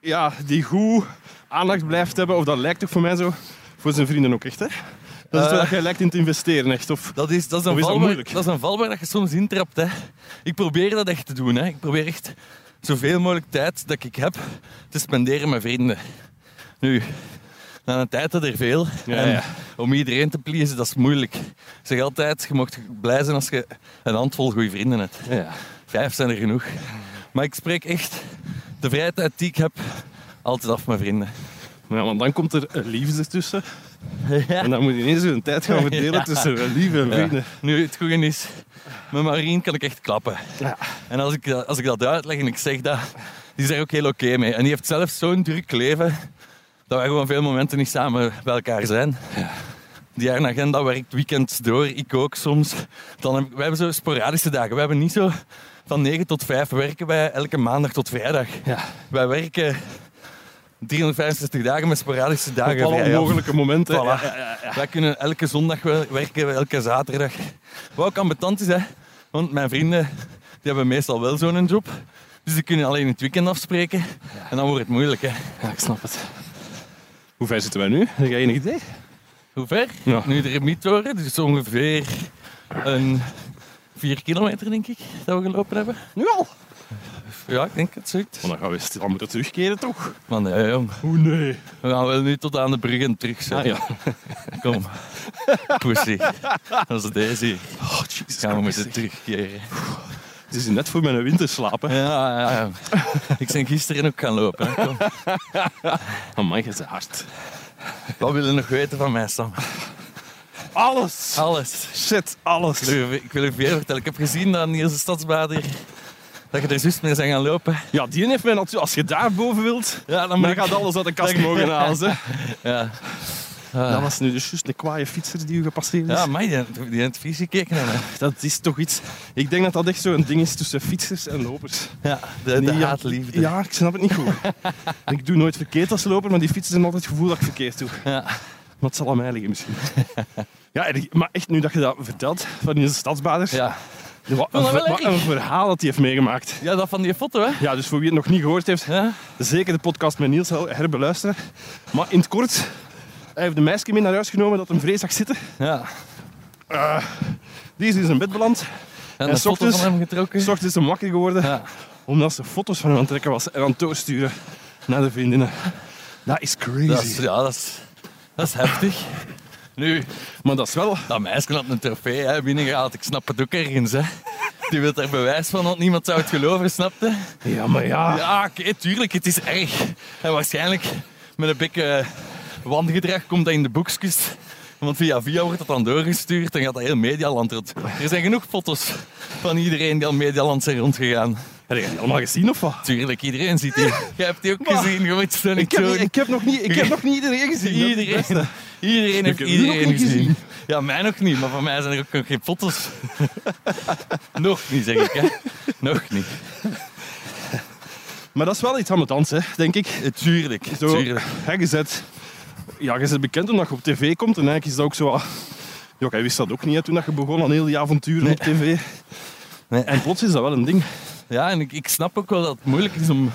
ja, die goed aandacht blijft hebben, of dat lijkt ook voor mij zo, voor zijn vrienden ook echt. Hè? Dat is
Eh.
wel dat jij lijkt in te investeren, echt. Of,
Dat is, dat is, een,
Of is dat
val waar,
moeilijk?
dat is een val waar dat je soms intrapt. Hè. Ik probeer dat echt te doen. Hè. Ik probeer echt zoveel mogelijk tijd dat ik heb te spenderen met vrienden. Nu, na een tijd dat er veel.
Ja,
en
ja.
om iedereen te pleasen, dat is moeilijk. Ik zeg altijd, je mag blij zijn als je een handvol goede vrienden hebt.
ja.
Vijf zijn er genoeg. Maar ik spreek echt de vrije tijd die ik heb altijd af met vrienden.
Ja, want dan komt er een liefde tussen. En dan moet je ineens een tijd [laughs] gaan verdelen
Ja.
tussen wel lieve en
Ja.
vrienden.
Nu, het goede is, met Marien kan ik echt klappen.
Ja.
En als ik, dat- als ik dat uitleg en ik zeg dat, die is er ook heel oké mee. En die heeft zelf zo'n druk leven, dat wij gewoon veel momenten niet samen bij elkaar zijn. Die haar agenda werkt weekends door, ik ook soms. Dan heb, ik- wij hebben zo sporadische dagen. We hebben niet zo van 9 tot 5 werken wij elke maandag tot vrijdag.
Ja.
Wij werken 365 dagen met sporadische
Op
dagen.
alle
vrij af.
mogelijke momenten.
Voilà. Wij kunnen elke zondag wel werken, elke zaterdag. Wat ook ambetant is, hè, want mijn vrienden die hebben meestal wel zo'n job. Dus die kunnen alleen het weekend afspreken. En dan wordt het moeilijk. Hè.
Ja, ik snap het. Hoe ver zitten wij nu? Heb jij enig idee?
Hoe ver?
Ja.
Nu de Remiettoren, dus ongeveer een vier kilometer, denk ik, dat we gelopen hebben.
Nu al?
Ja, ik denk het zoiets.
dan gaan we stil moeten terugkeren, toch?
Maar nee, jong.
Hoe nee?
We gaan wel nu tot aan de brug en terug. Zo.
Ah, ja. [laughs]
Kom. Pussy. Dat is deze. hier.
Oh, jezus.
Gaan we
Christus.
moeten terugkeren.
Het is net voor mijn winterslapen.
Ja, ja, [laughs] ja. Ik ben gisteren ook gaan lopen. hè. Kom.
Amai, Oh je is hard.
Wat wil je nog weten van mij, Sam?
Alles!
Alles.
Shit, alles.
Ik wil je- ik wil je veel vertellen. Ik heb gezien aan Niels de Stadsbader dat je er juist mee zijn gaan lopen.
Ja, die heeft mij natuurlijk... Als je daar boven wilt,
Ja, dan
dan
ik-
gaat alles uit de
[laughs]
kast mogen halen. [laughs] zeg.
Ja,
Dat was nu dus juist een kwaaie fietser die u gepasseerd is.
ja maar die, die heeft het vies gekeken naar mij.
dat is toch iets... Ik denk dat dat echt zo'n ding is tussen fietsers en lopers.
Ja, de, de
Nee, ja,
haatliefde.
Ja, ik snap het niet goed. [laughs] ik doe nooit verkeerd als loper, maar die fietsers hebben altijd het gevoel dat ik verkeerd doe.
Ja.
Maar het zal aan mij liggen
[laughs]
misschien. ja, en die- maar echt, nu dat je dat vertelt, van die stadsbaders...
Ja.
Wat,
dat
een,
wel
ver- wat
erg.
een verhaal dat hij heeft meegemaakt.
ja, dat van die foto, hè?
Ja, dus voor wie het nog niet gehoord heeft,
Ja,
zeker de podcast met Niels her- herbeluisteren. Maar in het kort, hij heeft een meisje mee naar huis genomen dat hem vrees zag zitten.
ja.
Die is in zijn bed beland.
En
En
de foto
ochtends-
van hem getrokken.
S ochtends is hem wakker geworden,
Ja.
omdat ze foto's van hem aan het trekken was en aan het doorsturen naar de vriendinnen. Dat is crazy.
Dat is, ja, dat is, dat is heftig. Nu,
Maar dat is wel...
Dat meisje had een trofee hè, binnengehaald. Ik snap het ook ergens. Hè. Die wil er bewijs van, want niemand zou het geloven, snapte?
Ja, maar ja.
Ja, oké, tuurlijk, het is erg. En waarschijnlijk met een beetje eh, wangedrag komt dat in de boekjes. Want via via wordt dat dan doorgestuurd en gaat dat heel Medialand rond. Er zijn genoeg foto's van iedereen die al Medialand zijn rondgegaan.
Heb je die allemaal gezien of wat?
Tuurlijk, iedereen ziet die. Jij hebt die ook
Maar-
gezien, je moet zo
Ik
niet
heb, niet-
doen.
ik heb nog niet, ik heb nog niet iedereen gezien. dat is het beste.
Iedereen, iedereen heeft
heb u nog
iedereen
niet
gezien.
gezien.
Ja, mij nog niet, maar van mij zijn er ook nog geen foto's. [laughs] nog niet, zeg ik. Hè. Nog niet.
Maar dat is wel iets aan het dansen, hè, denk ik.
Eh, Tuurlijk,
Zo,
tuurlijk.
hè, je bent- ja, je bent bekend omdat je op tv komt. En eigenlijk is dat ook zo... wat- Ja, jij wist dat ook niet hè, toen dat je begon aan heel die avonturen op tv.
Nee.
En plots is dat wel een ding.
Ja, en ik, ik snap ook wel dat het moeilijk is om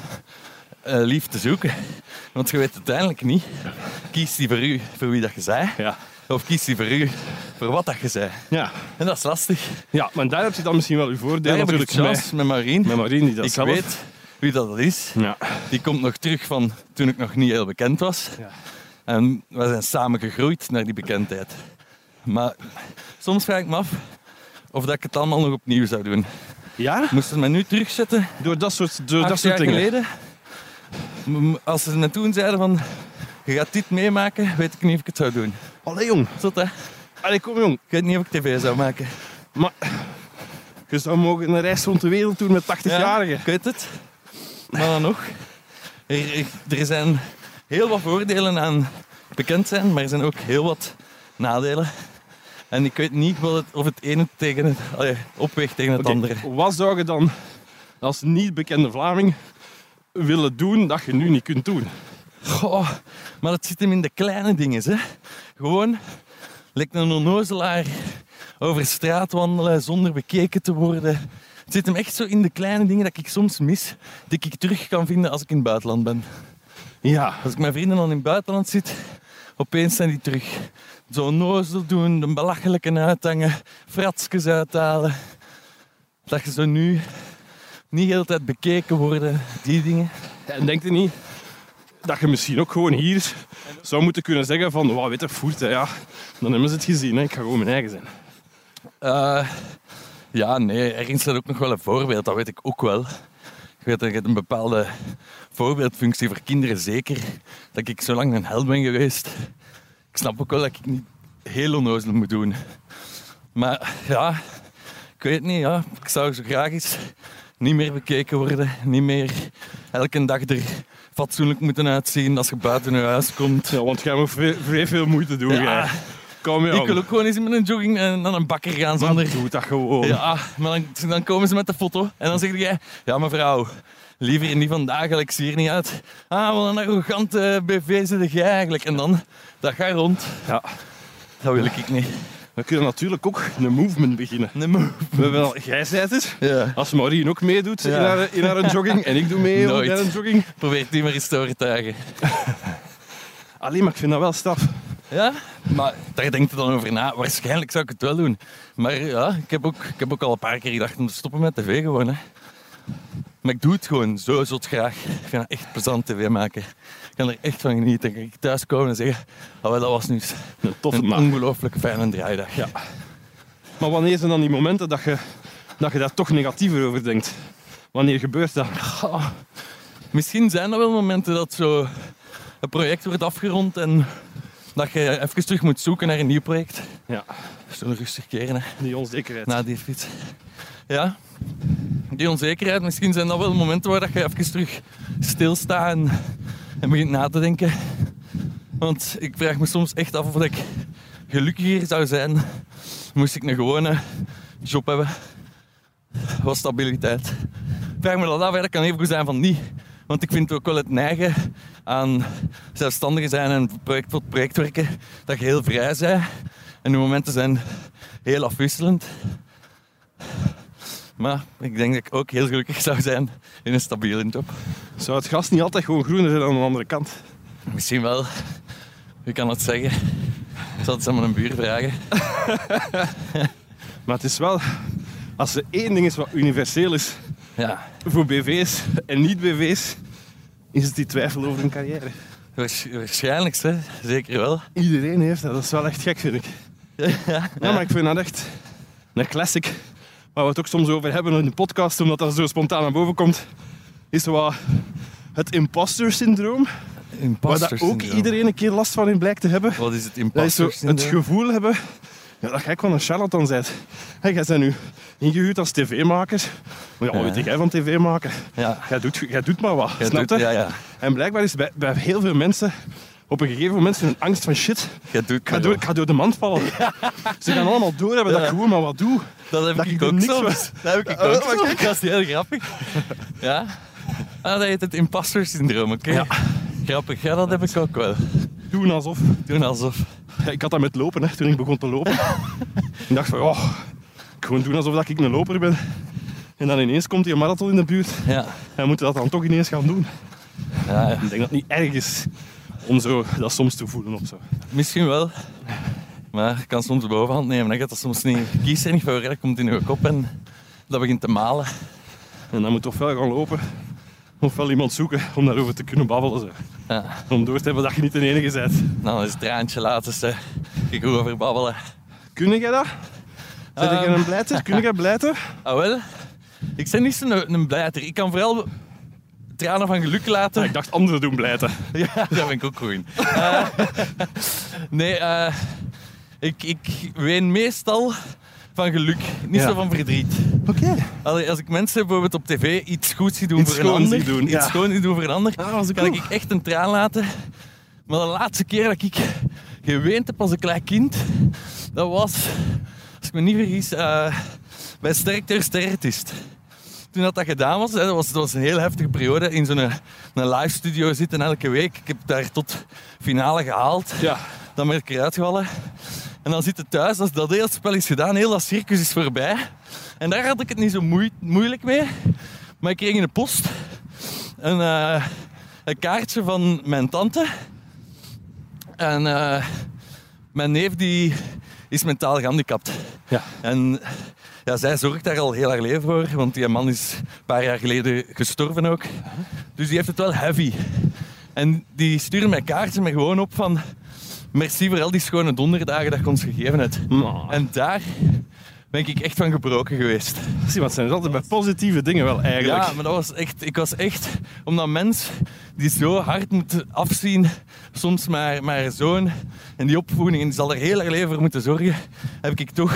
eh, lief te zoeken. Want je weet uiteindelijk niet. Kies die voor u, voor wie dat je zei.
Ja.
Of kies die voor u, voor wat dat je zei.
Ja,
En dat is lastig.
ja maar daar heb je dan misschien wel uw voordeel
Daar heb ik
natuurlijk
chance met Marien.
Met Marien die dat
ik
zelf...
weet wie dat is.
Ja.
Die komt nog terug van toen ik nog niet heel bekend was.
Ja.
En we zijn samen gegroeid naar die bekendheid. Maar soms vraag ik me af of dat ik het allemaal nog opnieuw zou doen.
ja?
Moesten ze me nu terugzetten,
Door dat soort, door
acht
dat soort
jaar
dingen.
geleden? M- m- Als ze me toen zeiden van, je gaat dit meemaken, weet ik niet of ik het zou doen.
Allee jong,
Zot hè?
allee kom jong.
Ik weet niet of ik tv zou maken.
Maar je zou mogen een reis rond de wereld doen met 80-jarigen.
Ik weet het. Maar dan nog. Er, er- er zijn heel wat voordelen aan bekend zijn, maar er zijn ook heel wat nadelen. En ik weet niet wat het, of het ene tegen het, allee, opweegt tegen het
Oké,
andere.
Wat zou je dan als niet bekende Vlaming willen doen dat je nu niet kunt doen?
Goh, maar dat zit hem in de kleine dingen. Hè. Gewoon, lijkt een onnozelaar over straat wandelen zonder bekeken te worden. Het zit hem echt zo in de kleine dingen dat ik soms mis, die ik terug kan vinden als ik in het buitenland ben.
Ja.
Als ik met vrienden dan in het buitenland zit, opeens zijn die terug. Zo'n nozel doen, een belachelijke uithangen, fratsjes uithalen. Dat je zo nu niet de hele tijd bekeken worden, die dingen.
En denk je niet dat je misschien ook gewoon hier zou moeten kunnen zeggen van, wat weet je, voert, hè, ja. Dan hebben ze het gezien, hè. ik ga gewoon mijn eigen zijn.
Eh, ja, nee, ergens staat ook nog wel een voorbeeld, dat weet ik ook wel. Ik weet dat je een bepaalde voorbeeldfunctie voor kinderen zeker, dat ik zo lang een held ben geweest. Ik snap ook wel dat ik niet heel onnozel moet doen. Maar ja, ik weet niet, ja, ik zou zo graag eens niet meer bekeken worden, niet meer elke dag er fatsoenlijk moeten uitzien als je buiten je huis komt.
Ja, want jij moet vre- vrij veel moeite doen.
Ja.
jij. Kom je
Ik wil ook gewoon eens met een jogging en dan een bakker gaan zonder...
Doe dat gewoon.
Ja, maar dan, dan komen ze met de foto en dan zeg jij... Ja, mevrouw, liever niet vandaag, ik zie er niet uit. Ah, wat een arrogante BV zit jij eigenlijk. En dan, dat gaat rond.
Ja.
Dat wil ik niet.
We kunnen natuurlijk ook een movement beginnen.
Nee, moe.
We hebben al, jij zei het.
Ja.
Als Maureen ook meedoet
Ja.
in, haar, in haar jogging en ik doe mee in
Nooit.
haar jogging.
Probeer die maar eens te overtuigen.
Alleen maar ik vind dat wel straf.
Ja, maar daar denkt het dan over na. Waarschijnlijk zou ik het wel doen. Maar ja, ik heb ook, ik heb ook al een paar keer gedacht om te stoppen met tv gewoon. Hè. Maar ik doe het gewoon zo zot graag. Ik vind het echt plezant tv maken. Ik kan er echt van genieten. Dan kan ik thuis komen en zeggen, oh, wel, dat was nu eens
Een toffe
een
naam.
ongelooflijk fijne draaidag.
Ja. Maar wanneer zijn dan die momenten dat je, dat je daar toch negatiever over denkt? Wanneer gebeurt dat?
Misschien zijn er wel momenten dat zo een project wordt afgerond en dat je even terug moet zoeken naar een nieuw project.
Ja,
Zullen rustig keren, hè.
die onzekerheid.
Na die fiets. Ja. Die onzekerheid, misschien zijn dat wel momenten waar dat je even terug stilstaat en, en begint na te denken. Want ik vraag me soms echt af of ik gelukkiger zou zijn moest ik een gewone job hebben. Wat stabiliteit. Ik vraag me dat af, hè. dat kan even goed zijn van niet. Want ik vind ook wel het neigen aan zelfstandigen zijn en project tot project werken, dat je heel vrij bent. En de momenten zijn heel afwisselend. Maar ik denk dat ik ook heel gelukkig zou zijn in een stabiele job.
Zou het gras niet altijd gewoon groener zijn aan de andere kant?
Misschien wel. Wie kan dat zeggen? Ik zal het eens aan mijn buur vragen.
Maar het is wel, als er één ding is wat universeel is
Ja,
voor BV's en niet-BV's, is het die twijfel over een carrière.
waarsch- waarschijnlijk, hè. zeker wel.
Iedereen heeft dat, dat is wel echt gek,
[laughs]
vind ik.
Ja,
Ja, maar ik vind dat echt een classic. Waar we het ook soms over hebben in de podcast, omdat dat zo spontaan naar boven komt, is zo wat het imposter syndroom. Waar dat
imposter
ook
syndroom.
iedereen een keer last van in blijkt te hebben.
Wat is het
Dat is
imposter
zo het
syndroom?
gevoel hebben ja, dat jij gewoon een charlatan bent. Hé, jij bent nu ingehuurd als tv-maker. Maar ja, wat
Ja.
weet jij van tv maken?
Ja.
Jij doet, jij doet maar wat,
Ja,
snap
doet-
je?
ja, ja.
En blijkbaar is bij, bij heel veel mensen op een gegeven moment een angst van shit,
Jij doet
ik ga
maar
door,
wel.
ik ga door de mand
[laughs]
vallen. Ze gaan allemaal doorhebben dat ik gewoon maar wat doe.
Dat heb
dat
ik,
ik er
ook
niks
soms. Dat heb ik
Oh,
ook
maar
soms. Dat is heel grappig. Ja? Ah, dat heet het imposter syndroom, oké?
Ja.
Grappig, ja, dat heb ik ook wel.
Doen nou alsof.
Doen alsof.
Ja, ik had dat met lopen, hè, toen ik begon te
[laughs]
lopen. ik dacht van, oh, ik gewoon doen alsof dat ik een loper ben. En dan ineens komt die marathon in de buurt.
Ja.
En we moeten dat dan toch ineens gaan doen.
Ja, ja.
Ik denk dat het niet erg is om zo dat soms te voelen of zo.
Misschien wel. Maar je kan soms de bovenhand nemen. Dan gaat dat soms niet kiezen. Voor dat komt in je kop en dat begint te malen.
En dan moet je ofwel gaan lopen, ofwel iemand zoeken om daarover te kunnen babbelen. Zo.
Ja.
Om door te hebben dat je niet de enige bent.
Dan is het Nou, traantje laten ze. Ik hoor over babbelen.
Kun jij dat? Zet ik
Ehm.
een blijter? Kun jij blijten?
[laughs] Ah wel? Ik ben niet zo'n een blijter. Ik kan vooral tranen van geluk laten.
Ah, Ik dacht anderen doen blijten.
[laughs] Ja, daar ben ik ook goed in. Eh, nee, eh, ik, ik ween meestal van geluk, niet
Ja.
zo van verdriet.
Oké.
Allee, als ik mensen bijvoorbeeld op tv iets goed zie doen
Iets
voor een
schoons
ander,
zie doen,
iets
ja.
schoon zie doen voor een ander,
Ah, dat is ook
kan
cool.
ik echt een traan laten. Maar de laatste keer dat ik geweend heb als een klein kind, dat was, als ik me niet vergis, eh, bij Sterk ter Sterretist. Toen dat, dat gedaan was, hè, dat was, dat was een heel heftige periode, in zo'n eh, een live studio zitten elke week. Ik heb daar tot finale gehaald.
Ja.
Dan werd ik eruit gevallen. En dan zit het thuis, als dat hele spel is gedaan, heel dat circus is voorbij. En daar had ik het niet zo moe- moeilijk mee. Maar ik kreeg in de post een, eh, een kaartje van mijn tante. En eh, mijn neef die is mentaal gehandicapt.
Ja.
En ja, zij zorgt daar al heel haar leven voor, want die man is een paar jaar geleden gestorven ook. Dus die heeft het wel heavy. En die stuurde mij kaartjes maar gewoon op van... Merci voor al die schone donderdagen dat je ons gegeven hebt.
Nou,
En daar ben ik echt van gebroken geweest.
Eh, zie, want het zijn altijd bij positieve dingen wel eigenlijk.
Ja, maar dat was echt, ik was echt, omdat mens die zo hard moet afzien, soms maar, maar zoon, en die opvoeding, en die zal er heel haar leven voor moeten zorgen, heb ik toch,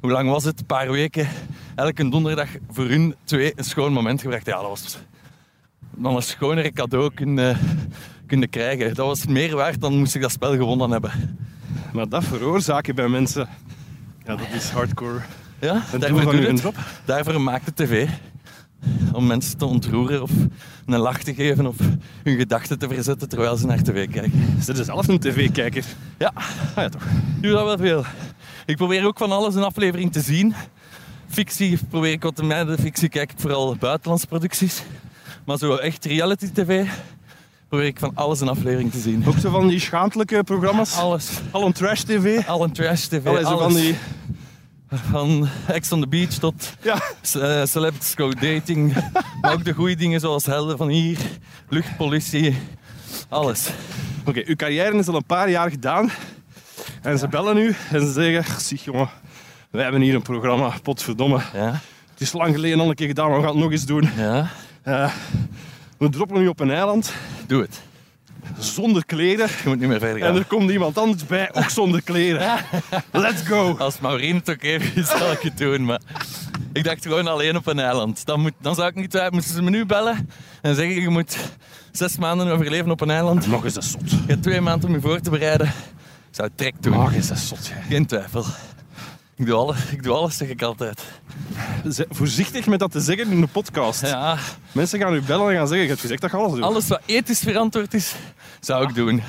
hoe lang was het, een paar weken, elke donderdag voor hun twee een schoon moment gebracht. Ja, dat was dan een schonere cadeau kunnen, kunnen krijgen. Dat was meer waard dan moest ik dat spel gewonnen hebben.
Maar dat veroorzaken bij mensen, ja, dat is hardcore.
Ja,
En doe
daarvoor,
van
doe
u een
het.
drop.
daarvoor maakt de tv. Om mensen te ontroeren of een lach te geven of hun gedachten te verzetten terwijl ze naar tv kijken.
Ze zijn zelf een tv-kijker.
Ja,
Ah ja, toch.
doe dat wel veel. Ik probeer ook van alles een aflevering te zien. Fictie probeer ik wat te mijden. Fictie kijk ik vooral buitenlandse producties. Maar zo echt reality tv probeer ik van alles een aflevering te zien.
Ook zo van die schaamtelijke programma's. Al,
Alles.
een trash-tv.
Al een trash tv.
Allee, zo van
alles.
die...
Van Ex on the Beach tot
Ja,
eh Celebs Go Dating. maar ook de goede dingen zoals Helden van Hier, Luchtpolitie, alles.
Oké, uw carrière is al een paar jaar gedaan. En ze bellen u en ze zeggen: Zie jongen, wij hebben hier een programma, potverdomme.
Ja,
Het is lang geleden al een keer gedaan, maar we gaan het nog eens doen.
ja,
Eh, we droppen nu op een eiland
doe het.
zonder kleren.
Je moet niet meer verder gaan.
En er komt iemand anders bij, ook zonder kleren. Let's go!
Als Maureen het oké vindt, [laughs] zal ik het doen. Maar ik dacht gewoon alleen op een eiland. Dan, moet, dan zou ik niet twijfelen. Moesten ze me nu bellen en zeggen: Je moet zes maanden overleven op een eiland.
Nog eens dat zot.
Je hebt twee maanden om je voor te bereiden. Ik zou het trek doen.
Nog eens dat zot, jij.
Geen twijfel. Ik doe, alles, ik doe alles, zeg ik altijd.
Ze- Voorzichtig met dat te zeggen in de podcast.
Ja,
Mensen gaan u bellen en gaan zeggen: Je hebt gezegd dat je alles doet.
alles wat ethisch verantwoord is, zou ik doen.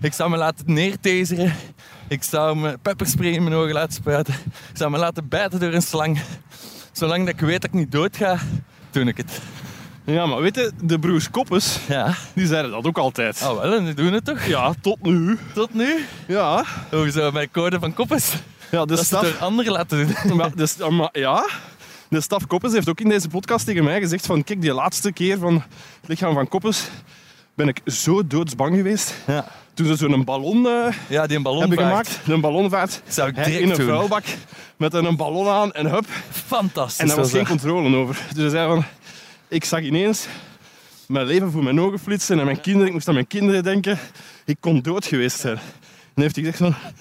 Ik zou me laten neertaseren. Ik zou me pepperspray in mijn ogen laten spuiten. Ik zou me laten bijten door een slang. Zolang dat ik weet dat ik niet dood ga, doe ik het.
Ja, maar weet je, de broers Koppes,
Ja.
die zeiden dat ook altijd.
Oh wel, en die doen het toch?
Ja, tot nu.
Tot nu?
Ja,
Hoezo, mijn code van koppes?
ja de
Dat ze het
staf.
door anderen laten doen.
Maar, dus, eh, maar ja, de staf Koppes heeft ook in deze podcast tegen mij gezegd van kijk, die laatste keer van het lichaam van Koppes ben ik zo doodsbang geweest.
Ja,
Toen ze zo'n ballon eh,
ja die een ballon
hebben
vaart.
gemaakt, een ballonvaart,
Zou ik
hij
direct
in een
doen.
vuilbak met een ballon aan en hup.
Fantastisch.
En daar was
was
geen
dat.
controle over. Dus hij zei van, ik zag ineens mijn leven voor mijn ogen flitsen en mijn kinderen, ik moest aan mijn kinderen denken. Ik kon dood geweest zijn. En dan heeft hij gezegd van,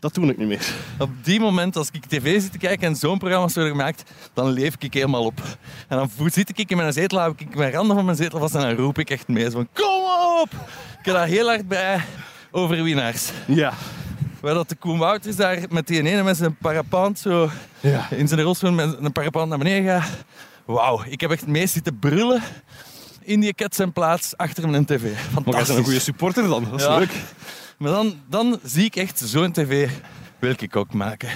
dat doe ik niet meer.
Op die moment, als ik tv zit te kijken en zo'n programma's worden gemaakt, dan leef ik helemaal op. En dan vo- zit ik in mijn zetel, hou ik mijn randen van mijn zetel vast en dan roep ik echt mee. Zo van, kom op! Ik heb daar heel hard bij over winnaars.
Ja.
Waar dat de Koen Wouters daar met die ene met zijn parapant zo
Ja.
in zijn rolstoel met een parapant naar beneden gaat. Wauw, ik heb echt mee zitten brullen in die kat zijn plaats achter mijn tv.
Maar jij bent een goede
Fantastisch.
supporter dan, dat is
Ja.
leuk.
Maar dan, dan zie ik echt zo'n tv wil ik ook maken.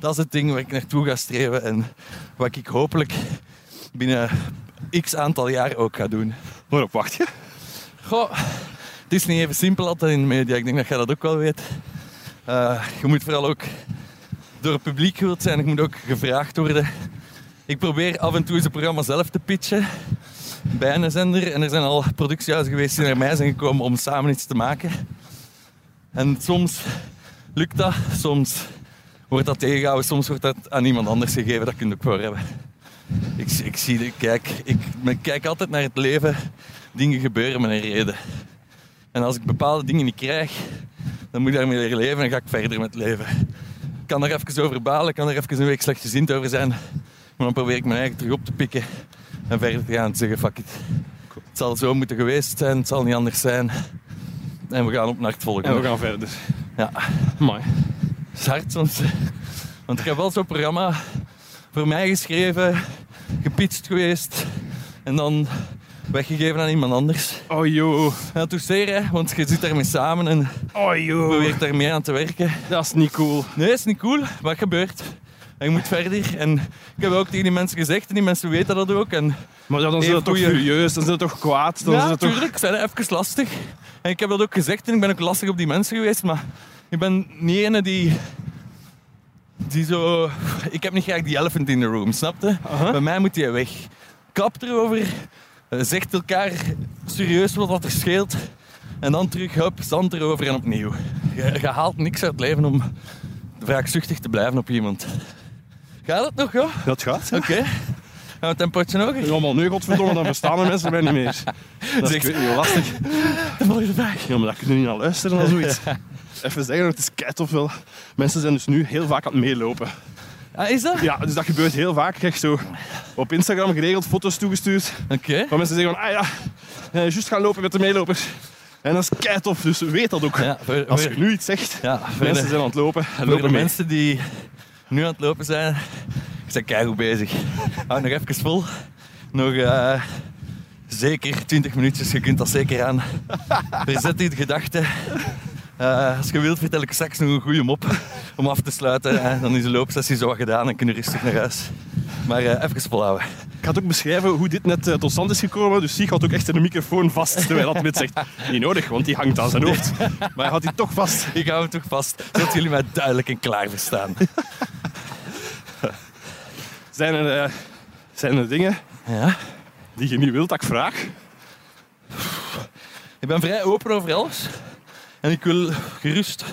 Dat is het ding waar ik naartoe ga streven en wat ik hopelijk binnen x aantal jaar ook ga doen.
Waarop wacht je?
Goh, het is niet even simpel altijd in de media. Ik denk dat jij dat ook wel weet. Eh, je moet vooral ook door het publiek gewild zijn. Ik moet ook gevraagd worden. Ik probeer af en toe eens het programma zelf te pitchen bij een zender. En er zijn al productiehuizen geweest die naar mij zijn gekomen om samen iets te maken. En soms lukt dat, soms wordt dat tegengehouden, soms wordt dat aan iemand anders gegeven. Dat kun je ook voor hebben. Ik, ik zie, ik kijk, ik, ik kijk altijd naar het leven. Dingen gebeuren met een reden. En als ik bepaalde dingen niet krijg, dan moet ik daarmee leren leven en ga ik verder met het leven. Ik kan daar even over balen, kan er even een week slechtgezind over zijn. Maar dan probeer ik mijn eigen terug op te pikken en verder te gaan en te zeggen, fuck it. Het zal zo moeten geweest zijn, het zal niet anders zijn. En we gaan op naar het volgende.
En we gaan verder.
Ja,
Mooi.
het is hard soms. Want ik heb wel zo'n programma voor mij geschreven, gepitcht geweest en dan weggegeven aan iemand anders.
Oh joh,
Ja, toch zeer, hè? want je zit daarmee samen en
oh joh.
probeert daar meer aan te werken.
Dat is niet cool.
Nee, is niet cool, maar het gebeurt. En je moet verder. En ik heb ook tegen die mensen gezegd, en die mensen weten dat ook. En
Maar ja, dan zijn ze
Even
toch
goeie-
furieus, dan zijn ze toch kwaad, dan
ja,
zijn ze toch...
natuurlijk, zijn even lastig. En ik heb dat ook gezegd en ik ben ook lastig op die mensen geweest, maar ik ben niet ene die. die zo. Ik heb niet graag die elephant in the room, snapte?
Aha.
Bij mij moet die weg. Kapt erover, eh, zegt elkaar serieus wat dat er scheelt, en dan terug, hup, zand erover en opnieuw. Je, je haalt niks uit het leven om wraakzuchtig te blijven op iemand. Gaat het nog, joh?
Dat gaat.
Oké. Gaan we het een potje nog?
Ja, maar nu, godverdomme, dan verstaan de mensen mij niet meer. Dat is
Zeg-
ik weet niet, heel lastig.
De volgende vraag.
Ja, maar daar kunnen we niet naar luisteren of zoiets. Even zeggen, het is keitof wel. Mensen zijn dus nu heel vaak aan het meelopen.
Ah, is dat?
Ja, dus dat gebeurt heel vaak. Ik krijg zo op Instagram geregeld foto's toegestuurd.
Oké.
Waar mensen zeggen van, ah ja, eh, juist gaan lopen met de meelopers. En dat is keitof, dus weet dat ook.
Ja, voor,
Als je
voor-
nu iets zegt,
ja, voor
mensen
de-
zijn aan het lopen.
voor
lopen
de
mee.
mensen die nu aan het lopen zijn, ik ben keihard bezig. Hou nog even vol. Nog eh, zeker 20 minuutjes, je kunt dat zeker [laughs] aan. Verzet die gedachten. Eh, als je wilt, vertel ik straks nog een goede mop om af te sluiten. Eh, dan is de loopsessie zo wat gedaan en kunnen we rustig naar huis. Maar eh, even volhouden.
Ik ga het ook beschrijven hoe dit net eh, tot stand is gekomen. Dus Sieg had ook echt een microfoon vast, terwijl dat met zegt, [laughs] niet nodig, want die hangt aan zijn hoofd. Maar hij had die toch vast.
Ik hou hem toch vast, zodat jullie mij duidelijk en klaar verstaan.
Zijn er, eh, zijn er dingen
Ja.
die je niet wilt dat ik vraag?
Ik ben vrij open over alles. En ik wil gerust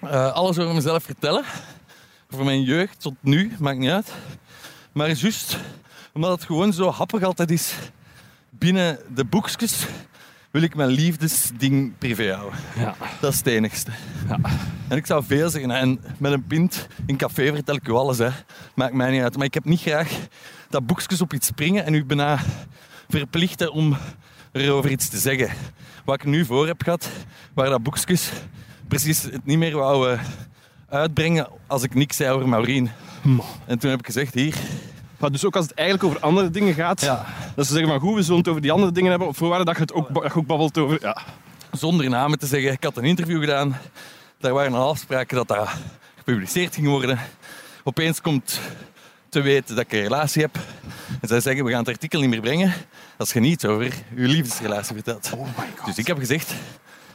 eh, alles over mezelf vertellen. Over mijn jeugd tot nu, maakt niet uit. Maar juist omdat het gewoon zo happig altijd is binnen de boekjes, wil ik mijn liefdesding privé houden.
Ja.
Dat is het enigste. En ik zou veel zeggen. En met een pint in café vertel ik u alles. Hè. Maakt mij niet uit. Maar ik heb niet graag dat boekjes op iets springen en u bijna verplichten om erover iets te zeggen. Wat ik nu voor heb gehad, waar dat boekjes precies het niet meer wou eh, uitbrengen als ik niks zei over Maureen. En toen heb ik gezegd, hier,
Maar dus ook als het eigenlijk over andere dingen gaat,
Ja.
dat ze zeggen van goed, we zullen het over die andere dingen hebben, voorwaarde dat je het ook, ba- dat je ook babbelt over... Ja.
zonder namen te zeggen. Ik had een interview gedaan. Daar waren al afspraken dat dat gepubliceerd ging worden. Opeens komt te weten dat ik een relatie heb. En zij zeggen, we gaan het artikel niet meer brengen als je niet over je liefdesrelatie vertelt. Dus ik heb gezegd,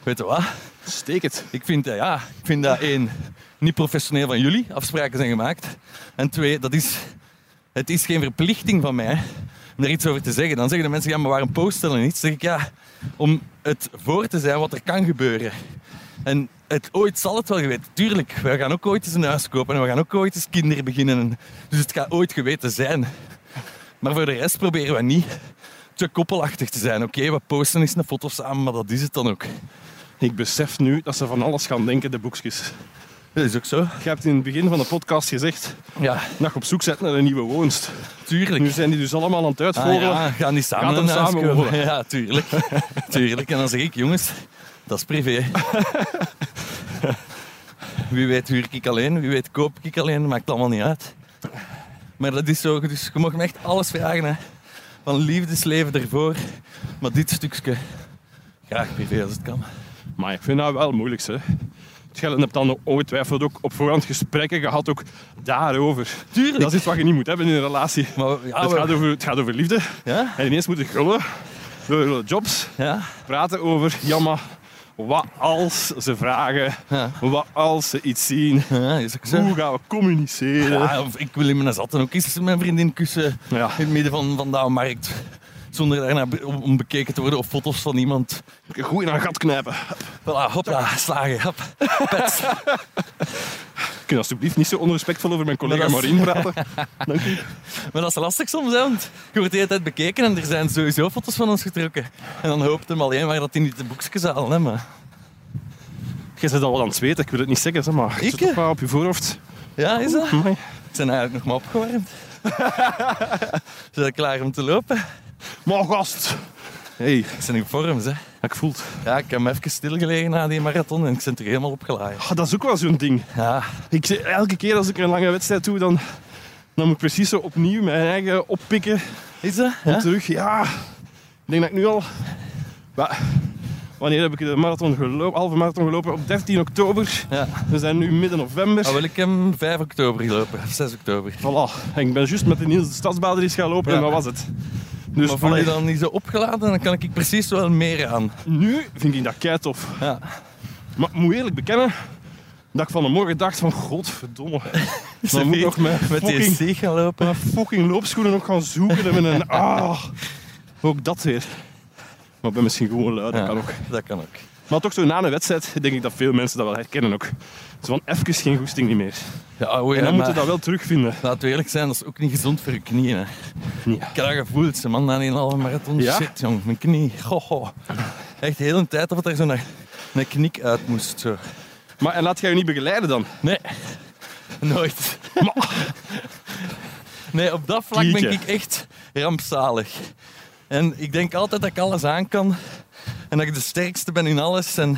weet je wat?
Steek het.
Ik vind, dat- ja, ik vind dat één, niet professioneel van jullie. Afspraken zijn gemaakt. En twee, dat is, het is geen verplichting van mij om daar iets over te zeggen. Dan zeggen de mensen, ja, maar waarom posten dan iets? Dan zeg ik, ja, om het voor te zijn wat er kan gebeuren. En het, ooit zal het wel geweten. Tuurlijk, we gaan ook ooit eens een huis kopen en we gaan ook ooit eens kinderen beginnen. En, dus het gaat ooit geweten zijn. Maar voor de rest proberen we niet te koppelachtig te zijn. Oké, we posten eens een foto samen, maar dat is het dan ook.
Ik besef nu dat ze van alles gaan denken, de boekjes.
Dat is ook zo.
Je hebt in het begin van de podcast gezegd
Ja,
dat je op zoek bent naar een nieuwe woonst.
tuurlijk.
Nu zijn die dus allemaal aan het
Ah,
uitvolgen.
ja, gaan die samen
Gaat hem
een huis
samen
kopen?
wonen.
Ja,
[laughs]
tuurlijk. tuurlijk. En dan zeg ik, jongens, dat is privé. Wie weet huur ik alleen, wie weet koop ik alleen, maakt allemaal niet uit. Maar dat is zo, dus je mag me echt alles vragen. Hè. Van liefdesleven ervoor, maar dit stukje graag privé als het kan.
Maar ik vind dat wel moeilijk, hè. Schellen hebt dan ongetwijfeld ook op voorhand gesprekken gehad ook daarover.
Tuurlijk.
Dat is iets wat je niet moet hebben in een relatie.
Maar, ja,
het,
we-
gaat over, het gaat over liefde.
ja?
En ineens moeten gullen door jobs.
Ja?
Praten over, jammer, wat als ze vragen,
Ja.
wat als ze iets zien.
ja, is ook zo.
Hoe gaan we communiceren?
Ja, of ik wil in mijn zatten ook eens mijn vriendin kussen.
Ja.
in het midden van, van de markt. Zonder daarna be- om, om bekeken te worden of foto's van iemand.
Goed in een gat knijpen.
Voilà, hopla, slagen. Hop.
Kun je alsjeblieft niet zo onrespectvol over mijn collega
Maar dat
Maureen
[laughs]
praten? Dank u.
Maar dat is lastig soms, hè, want je wordt de hele tijd bekeken en er zijn sowieso foto's van ons getrokken. En dan hoopt hem alleen maar dat hij niet de boekjes halen. Hè, maar.
Je zit al wel aan het zweten, ik wil het niet zeggen, zeg maar. Je
Ik,
zit toch
hè?
wel op je voorhoofd.
Ja, is dat?
Amai.
Ze zijn eigenlijk nog maar opgewarmd. [laughs] Ze zijn klaar om te lopen.
Maar gast! hey,
Ik ben in vorm, hè.
ik voel het.
Ja, ik heb me even stilgelegen na die marathon en ik ben er helemaal opgeladen.
Ah, dat is ook wel zo'n ding.
Ja,
Ik, zeg- elke keer als ik een lange wedstrijd doe, dan, dan moet ik precies zo opnieuw mijn eigen oppikken.
is dat? Ja?
Terug, ja. Ik denk dat ik nu al... Wa- Wanneer heb ik de marathon gelopen, halve marathon gelopen? Op 13 oktober.
ja.
We zijn nu midden november.
Ah, wel, ik heb hem 5 oktober gelopen, of 6 oktober.
Voilà. En ik ben juist met de Niels de Stadsbader eens gaan lopen
Ja.
en dat was het. Dus
Maar voel je
allee,
dan niet zo opgeladen, dan kan ik precies wel meer aan.
nu vind ik dat kei tof.
Ja.
Maar ik moet eerlijk bekennen dat ik van de morgen dacht van
[laughs]
godverdomme. Dan moet ik nog met,
[laughs] Met die
fucking,
steeg gaan lopen.
met fucking loopschoenen nog gaan zoeken. En
[laughs]
met een, ah, ook dat weer. Maar ik ben misschien gewoon lui, dat
Ja,
kan ook.
Dat kan ook.
Maar toch zo na een wedstrijd denk ik dat veel mensen dat wel herkennen ook. Zo van even geen goesting niet meer.
Ja, oei,
En dan
maar
moeten we dat wel terugvinden.
Laten we eerlijk zijn, dat is ook niet gezond voor je knieën. Hè.
Nee.
Ik heb dat gevoeld, ze man, na een halve marathon.
Ja?
Shit, jong, mijn knie. Goh, goh. Echt de hele tijd dat er zo'n een knik uit moest. Zo.
Maar en laat jij je niet begeleiden dan?
Nee, nooit. Nee, op dat vlak ben
Klietje.
ik echt rampzalig. En ik denk altijd dat ik alles aan kan. En dat ik de sterkste ben in alles. En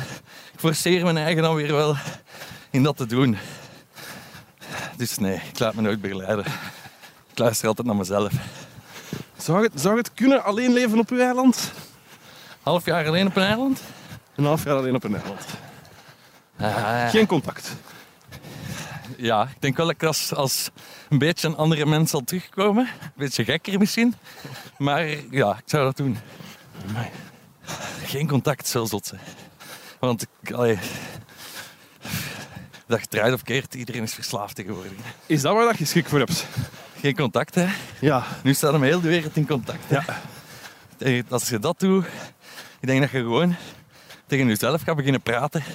ik forceer mijn eigen dan weer wel in dat te doen. Dus nee, ik laat me nooit begeleiden. Ik luister altijd naar mezelf.
Zou het, zou het kunnen alleen leven op uw eiland?
Half jaar alleen op een eiland?
Een half jaar alleen op een eiland.
Ah,
Geen contact.
ja, ik denk wel dat ik als, als een beetje een andere mens zal terugkomen. Een beetje gekker misschien. Maar ja, ik zou dat doen.
Amai.
Geen contact, zo zot. hè. Want ik, allee, dag draait of keert, iedereen is verslaafd tegenwoordig.
Is dat waar dat je schrik voor hebt?
Geen contact, hè?
Ja.
Nu staat hem heel de wereld in contact. hè. Tegen- Als je dat doet, ik denk dat je gewoon tegen jezelf gaat beginnen praten. [laughs]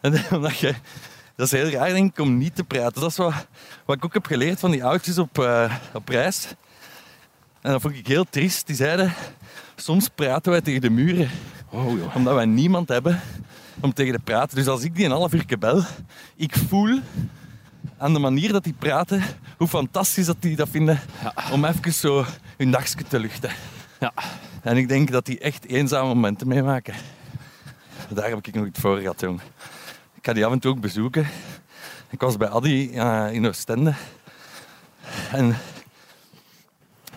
En omdat je, dat is heel raar, denk ik, om niet te praten. Dat is wat, wat ik ook heb geleerd van die oudjes op, eh, op reis. En dat vond ik heel triest. Die zeiden, soms praten wij tegen de muren.
Oh joh.
Omdat wij niemand hebben om tegen te praten. Dus als ik die een half uur bel, ik voel aan de manier dat die praten, hoe fantastisch dat die dat vinden om even zo hun dagje te luchten.
Ja.
En ik denk dat die echt eenzame momenten meemaken. Daar heb ik nog iets voor gehad, jong. Ik ga die af en toe ook bezoeken. Ik was bij Addy eh, in Oostende. En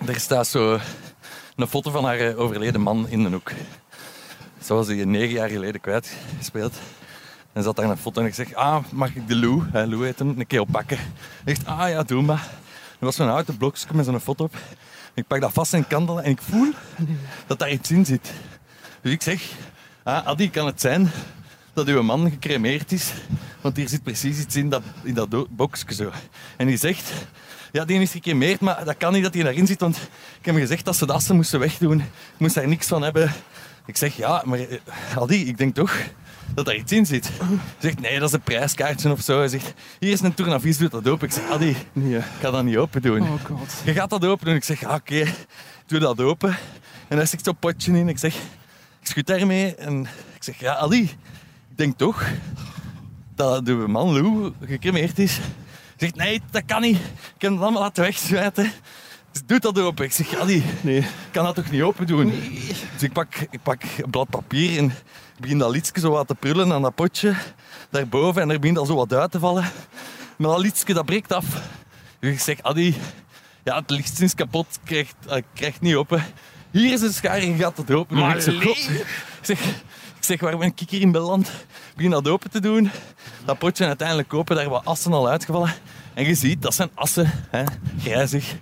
er staat zo een foto van haar eh, overleden man in de hoek. Zo was hij negen jaar geleden kwijtgespeeld. En zat daar een foto en ik zeg, ah, mag ik de Lou, hè, Lou heet hem, een keer oppakken? Echt, ah ja, doe maar. Er was zo'n houten blokje met zo'n foto op. Ik pak dat vast in kandelen en ik voel dat daar iets in zit. Dus ik zeg, ah, Adi, kan het zijn dat uw man gecremeerd is? Want hier zit precies iets in dat, in dat do- boxje zo. En die zegt, ja, die is gecremeerd, maar dat kan niet dat hij daarin zit, want ik heb hem gezegd dat ze de assen moesten wegdoen. Ik moest daar niks van hebben. Ik zeg, ja, maar eh, Adi, ik denk toch dat daar iets in zit. Hij zegt, nee, dat is een prijskaartje of zo. Hij zegt, hier is een tournavis, doe dat open. Ik zeg, Adi,
Nee.
ik ga dat niet open doen.
Oh god.
Je gaat dat open doen. Ik zeg, ah, oké, doe dat open. En daar zit zo'n potje in. Ik zeg, ik schud daarmee. En ik zeg, ja, Ali, ik denk toch dat de man Lou gecremeerd is. Hij zegt, nee, dat kan niet. Ik heb hem allemaal laten wegzwijten. Dus doe dat open. Ik zeg, Ali,
Nee.
ik kan dat toch niet open doen? Dus ik pak, ik pak een blad papier en ik begin dat liedje zo wat te prullen aan dat potje daarboven en er begint al zo wat uit te vallen. Maar dat liedje dat breekt af. Dus ik zeg, Adi, ja, het licht is kapot, ik krijg, eh, ik krijg het niet open. Hier is een schaar, je gaat het open. doen.
Maar
ik zeg,
leeg.
"God." ik zeg, ik zeg, waar ben ik hier in beland? Ik begin dat open te doen. Dat potje uiteindelijk open, daar wat assen al uitgevallen. En je ziet, dat zijn assen, hè, grijzig.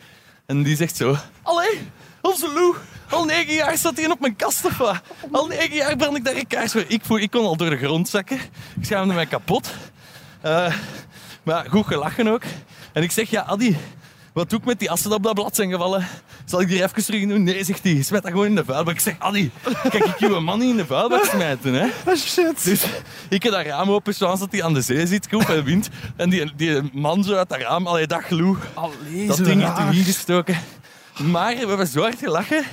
En die zegt zo, allee, onze Lou, al negen jaar staat hij op mijn kast of wat? Al negen jaar brand ik daar een kaars voor. Ik, voel, ik kon al door de grond zakken. Ik schaamde mij kapot. Eh, maar goed gelachen ook. En ik zeg, ja, Adi, wat doe ik met die assen die op dat blad zijn gevallen? Zal ik die er even terug doen? Nee, zegt hij, smijt dat gewoon in de vuilbak. Ik zeg, Adi, kijk, ik uw man niet in de vuilbak smijten, hè.
Oh shit.
Dus ik heb dat raam open, zoals dat hij aan de zee zit, koep en wind. En die, die man zo uit dat raam, allee, dag Lou,
Allee,
dat ding heeft erin gestoken. Maar we hebben zo hard gelachen.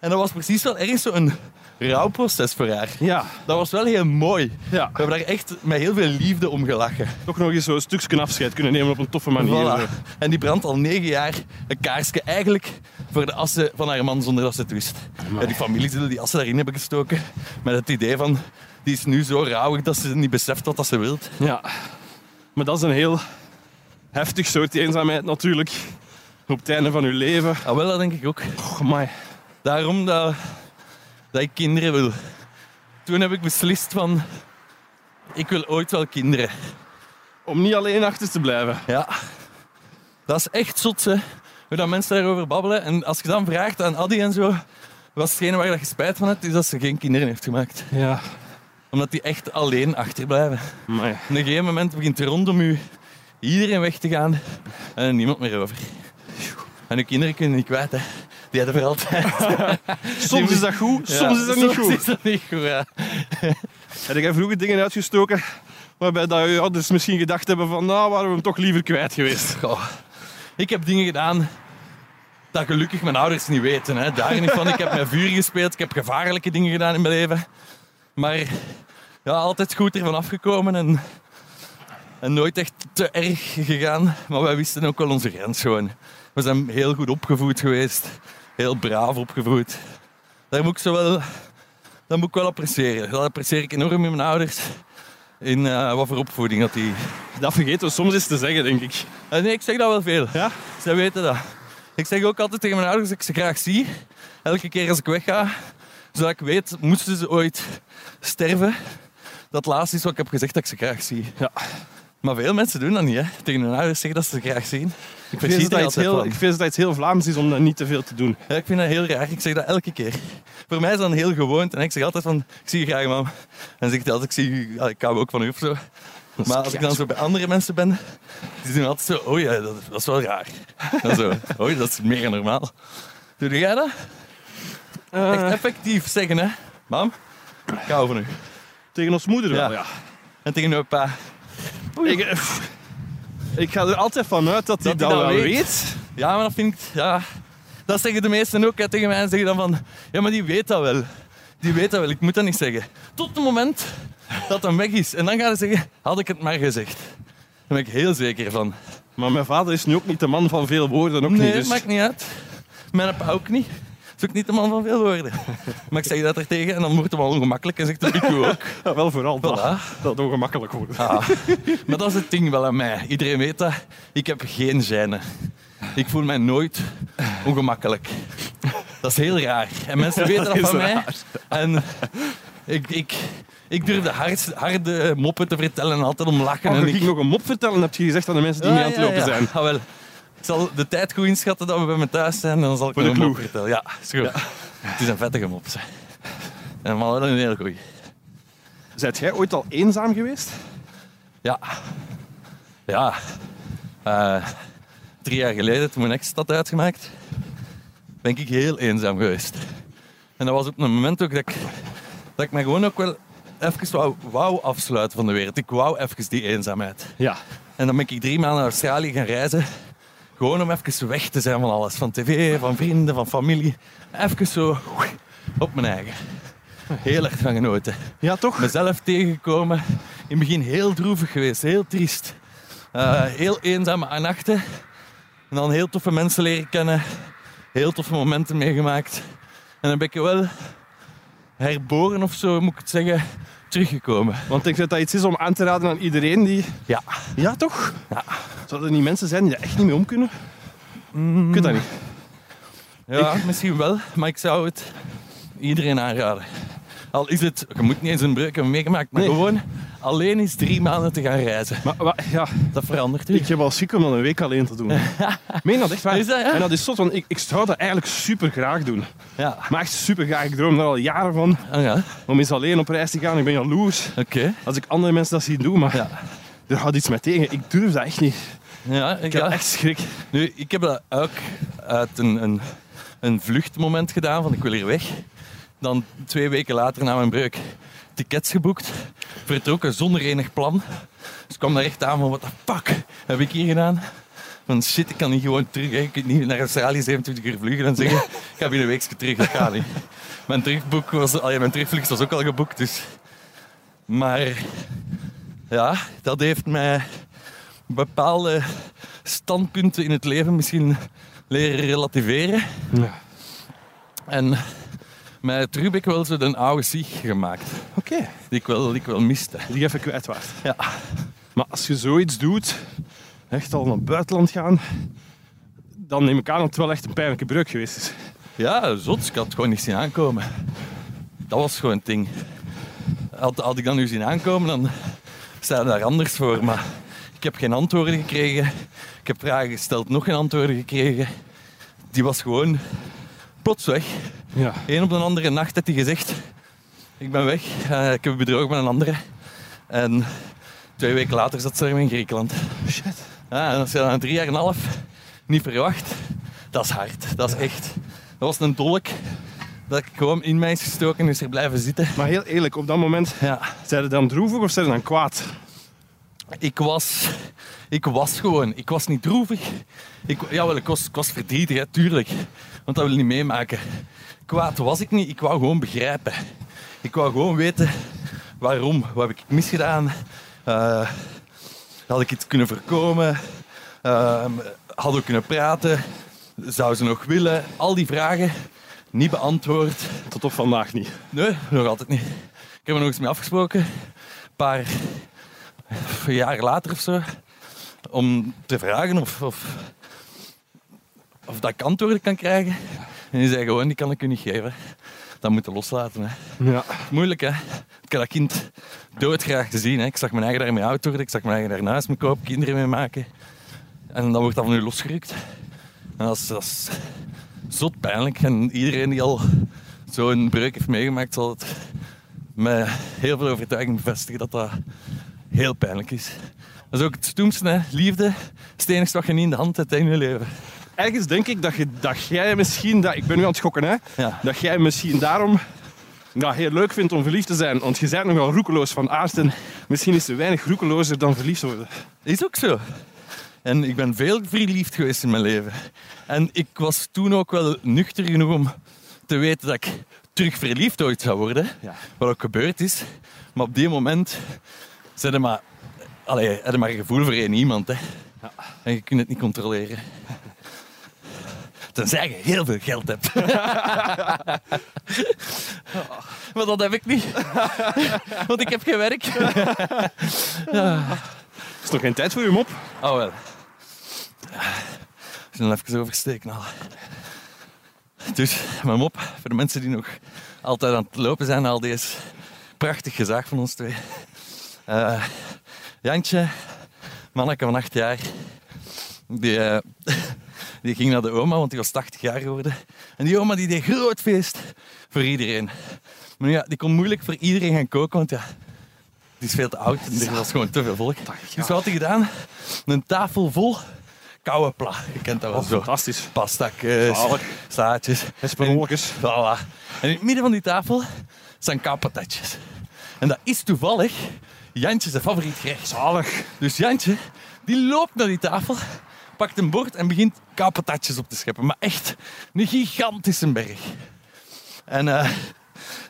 En dat was precies wel ergens zo'n rouwproces voor haar.
Ja.
Dat was wel heel mooi.
Ja.
We hebben daar echt met heel veel liefde om gelachen.
Toch nog eens zo'n stukje afscheid kunnen nemen op een toffe manier.
Voilà.
zo.
En die brandt al negen jaar een kaarsje eigenlijk voor de assen van haar man zonder dat ze het wist. Ja, die familie zullen die assen daarin hebben gestoken met het idee van die is nu zo rauwig dat ze niet beseft wat dat ze wilt.
Ja. Maar dat is een heel heftig soort eenzaamheid natuurlijk. Op het einde van uw leven.
Ah, wel, dat denk ik ook.
Och, amai.
Daarom dat, dat ik kinderen wil. Toen heb ik beslist van, ik wil ooit wel kinderen.
Om niet alleen achter te blijven.
Ja. Dat is echt zot, hè. Hoe dat mensen daarover babbelen. En als je dan vraagt aan Addy en zo, was hetgene waar dat je spijt van hebt, is dat ze geen kinderen heeft gemaakt.
Ja.
Omdat die echt alleen achterblijven.
Amai.
Op een gegeven moment begint er rondom u iedereen weg te gaan en er niemand meer over. En uw kinderen kunnen niet kwijt, hè. Die hebben er altijd.
Soms is dat goed, soms is dat niet
Soms
goed.
is dat niet goed, ja.
Heb jij vroeger dingen uitgestoken waarbij dat je ouders misschien gedacht hebben van nou, waren we hem toch liever kwijt geweest.
Goh. Ik heb dingen gedaan dat gelukkig mijn ouders niet weten. Hè. Daar niet van. Ik heb met vuur gespeeld. Ik heb gevaarlijke dingen gedaan in mijn leven. Maar ja, altijd goed ervan afgekomen. En, en nooit echt te erg gegaan. Maar wij wisten ook wel onze grens gewoon. We zijn heel goed opgevoed geweest. heel braaf opgevoed. Daar moet ik, zo wel, dat moet ik wel appreciëren. Dat apprecieer ik enorm in mijn ouders. In eh, wat voor opvoeding dat die...
Dat vergeten we soms eens te zeggen, denk ik.
Eh, nee, ik zeg dat wel veel.
Ja?
Zij weten dat. Ik zeg ook altijd tegen mijn ouders dat ik ze graag zie. Elke keer als ik wegga. Zodat ik weet, moesten ze ooit sterven. Dat laatste is wat ik heb gezegd dat ik ze graag zie.
Ja.
Maar veel mensen doen dat niet. Hè. Tegen hun ouders zeggen dat ze ze graag zien. Ik
Ik vind,
verschiet
dat
er
iets
altijd
heel,
van.
ik vind dat iets heel Vlaams is om dat niet te veel te doen.
Ja, ik vind dat heel raar. Ik zeg dat elke keer. Voor mij is dat een heel gewoonte. En ik zeg altijd van, ik zie je graag, mam. En dan zeg ik altijd, ik zie je, ja, ik hou ook van u of zo. Maar als ik dan zo bij andere mensen ben, die doen altijd zo, oh ja, dat, dat is wel raar. En zo, oh dat is meer dan normaal. Doe jij dat? Echt effectief zeggen, hè. Mam, ik hou van u.
Tegen ons moeder wel,
Ja.
ja.
En tegen uw pa.
Ik, eh, pff, ik ga er altijd van uit dat hij
Dat
dat,
hij dat
wel
weet.
weet.
Ja, maar dat vind ik, ja... Dat zeggen de meesten ook hè, tegen mij. En zeggen dan van, ja, maar die weet dat wel. Die weet dat wel, ik moet dat niet zeggen. Tot het moment dat hem weg is. En dan gaan ze zeggen, had ik het maar gezegd. Daar ben ik heel zeker van.
Maar mijn vader is nu ook niet de man van veel woorden. Ook
nee,
niet,
dat
dus
maakt niet uit. Mijn pa ook niet. Dat is ook niet de man van veel woorden. Maar ik zeg dat er tegen en dan wordt het wel ongemakkelijk en zegt de Pico
[laughs]
ook.
ja, wel vooral dat,
Voilà.
dat ongemakkelijk wordt.
Ah, maar dat is het ding wel aan mij. Iedereen weet dat. Ik heb geen gêne. Ik voel mij nooit ongemakkelijk. Dat is heel raar. En mensen weten dat
is
van mij. En ik, ik, ik durf de hard, harde moppen te vertellen en altijd om lachen.
Oh,
en
ik
ik
ging nog een mop vertellen, heb je gezegd aan de mensen die mee aan het lopen zijn.
Ah, wel. Ik zal de tijd goed inschatten dat we bij me thuis zijn en dan zal ik
Voor
nog
de
een mop
ploeg.
vertellen. Ja, is goed. Het is een vettige mop. zeg. En maar wel een heel goeie.
Zijt jij ooit al eenzaam geweest?
Ja. Ja. Eh, drie jaar geleden, toen mijn ex dat uitgemaakt, ben ik heel eenzaam geweest. En dat was op een moment ook dat ik, dat ik mij gewoon ook wel even wou, wou afsluiten van de wereld. Ik wou even die eenzaamheid.
Ja.
En dan ben ik drie maanden naar Australië gaan reizen. Gewoon om even weg te zijn van alles. Van tv, van vrienden, van familie. Even zo oei, op mijn eigen. Heel erg van genoten
Ja, toch?
mezelf tegengekomen. In het begin heel droevig geweest, heel triest. Eh, heel eenzame nachten. En dan heel toffe mensen leren kennen. Heel toffe momenten meegemaakt. En dan ben ik wel herboren of zo, moet ik het zeggen, teruggekomen.
Want ik denk dat dat iets is om aan te raden aan iedereen die...
Ja.
Ja, toch? Zouden er niet mensen zijn die daar echt niet mee om kunnen?
Mm.
Ik weet dat niet.
Ja, misschien wel, maar ik zou het iedereen aanraden. Al is het, je moet niet eens een breuk hebben meegemaakt, maar
Nee.
gewoon alleen eens drie maanden te gaan reizen.
Maar, maar ja,
Dat verandert u.
ik heb al ziek om dat een week alleen
[laughs]
te doen. Meen dat echt waar?
Is dat, ja?
En dat is zot, want ik, ik zou dat eigenlijk super graag doen.
Ja,
Maar echt super graag. Ik droom daar al jaren van.
Ah, ja.
Om eens alleen op reis te gaan. Ik ben jaloers
oké.
als ik andere mensen dat zie doen. Maar
Ja.
er houdt iets mij tegen. Ik durf dat echt niet.
Ja,
Ik heb echt schrik.
Nu, ik heb dat ook uit een, een, een vluchtmoment gedaan van ik wil hier weg. Dan twee weken later na mijn breuk tickets geboekt, vertrokken zonder enig plan. Dus ik kwam daar echt aan van wat de fuck heb ik hier gedaan? Van shit, ik kan niet gewoon terug. hè. Ik kan niet naar Australië 27 uur vliegen en zeggen ik ga binnen een weekje terug. Dat gaat niet. Mijn, terugboek was, allee, mijn terugvlucht was ook al geboekt. Dus. Maar ja, dat heeft mij bepaalde standpunten in het leven misschien leren relativeren.
Ja.
En mij terug heb ik wel zo een oude zich gemaakt.
Oké.
Die ik wel, die ik wel miste.
Die even kwijt waard.
Ja.
Maar als je zoiets doet, echt al naar het buitenland gaan, dan neem ik aan dat het wel echt een pijnlijke breuk geweest is.
ja, zot. Ik had het gewoon niet zien aankomen. Dat was gewoon het ding. Had, had ik dat nu zien aankomen, dan sta je daar anders voor. Maar ik heb geen antwoorden gekregen. Ik heb vragen gesteld, nog geen antwoorden gekregen. Die was gewoon plots weg.
Ja.
Eén op de andere nacht heeft hij gezegd: Ik ben weg, eh, ik heb bedrogen met een andere. En twee weken later zat ze ermee in Griekenland.
Shit.
Ja, en als je dat na drie jaar en een half niet verwacht, dat is hard, dat is echt. Dat was een dolk dat ik gewoon in mij is gestoken en is er blijven zitten.
Maar heel eerlijk, op dat moment,
Ja,
zijn ze dan droevig of zijn ze dan kwaad?
ik was, ik was gewoon, ik was niet droevig. Ik, jawel, ik was, ik was verdrietig, hè, tuurlijk. Want dat wil je niet meemaken. Kwaad was ik niet, ik wou gewoon begrijpen. Ik wou gewoon weten waarom, wat heb ik misgedaan. Eh, had ik iets kunnen voorkomen? Ehm hadden we kunnen praten? Zou ze nog willen? Al die vragen niet beantwoord.
Tot op vandaag niet.
Nee, nog altijd niet. Ik heb er nog eens mee afgesproken. Een paar jaar later of zo. Om te vragen of, of, of dat ik antwoorden kan krijgen. En die zei gewoon, die kan ik u niet geven. Dat moet je loslaten. Hè.
Ja.
Moeilijk, hè? Ik had dat kind doodgraag te zien. Hè. Ik zag mijn eigen daarmee oud worden. Ik zag mijn eigen daarnaast me kopen, kinderen mee maken. En dan wordt dat van u losgerukt. En dat is, dat is zot pijnlijk. En iedereen die al zo'n breuk heeft meegemaakt, zal het met heel veel overtuiging bevestigen dat dat heel pijnlijk is. Dat is ook het stoemste, hè? Liefde is het enigste wat je niet in de hand hebt hè, in je leven.
Ergens denk ik dat, je, dat jij misschien... Dat, ik ben nu aan het gokken, hè.
Ja.
Dat jij misschien daarom dat heel leuk vindt om verliefd te zijn. Want je bent nogal roekeloos van aard. En misschien is er weinig roekelozer dan verliefd worden.
Is ook zo. En ik ben veel verliefd geweest in mijn leven. En ik was toen ook wel nuchter genoeg om te weten dat ik terug verliefd ooit zou worden.
Ja.
Wat ook gebeurd is. Maar op die moment zijn er maar, allee, had je maar een gevoel voor één iemand. Hè. En je kunt het niet controleren. [laughs] Tenzij je heel veel geld hebt. Maar dat heb ik niet. Want ik heb geen werk.
Er is nog geen tijd voor je mop.
Oh wel. Ah, Ik zal even oversteken al. Dus, mijn mop, voor de mensen die nog altijd aan het lopen zijn, al deze prachtig gezaag van ons twee. Eh, Jantje, manneke van acht jaar, die, eh, die ging naar de oma, want die was 80 jaar geworden. En die oma die deed groot feest voor iedereen. Maar ja, die kon moeilijk voor iedereen gaan koken, want ja, die is veel te oud en er was gewoon te veel volk. Dus wat had hij gedaan? Een tafel vol koude pla. Je kent dat wel zo.
Oh, Fantastisch.
Pastakjes,
Zalig.
staartjes.
Hesperolkes.
Voilà. En in het midden van die tafel zijn kapatatjes. En dat is toevallig Jantje zijn favoriet gerecht.
Zalig.
Dus Jantje, die loopt naar die tafel, pakt een bord en begint kapatatjes op te scheppen. Maar echt, een gigantische berg. En eh,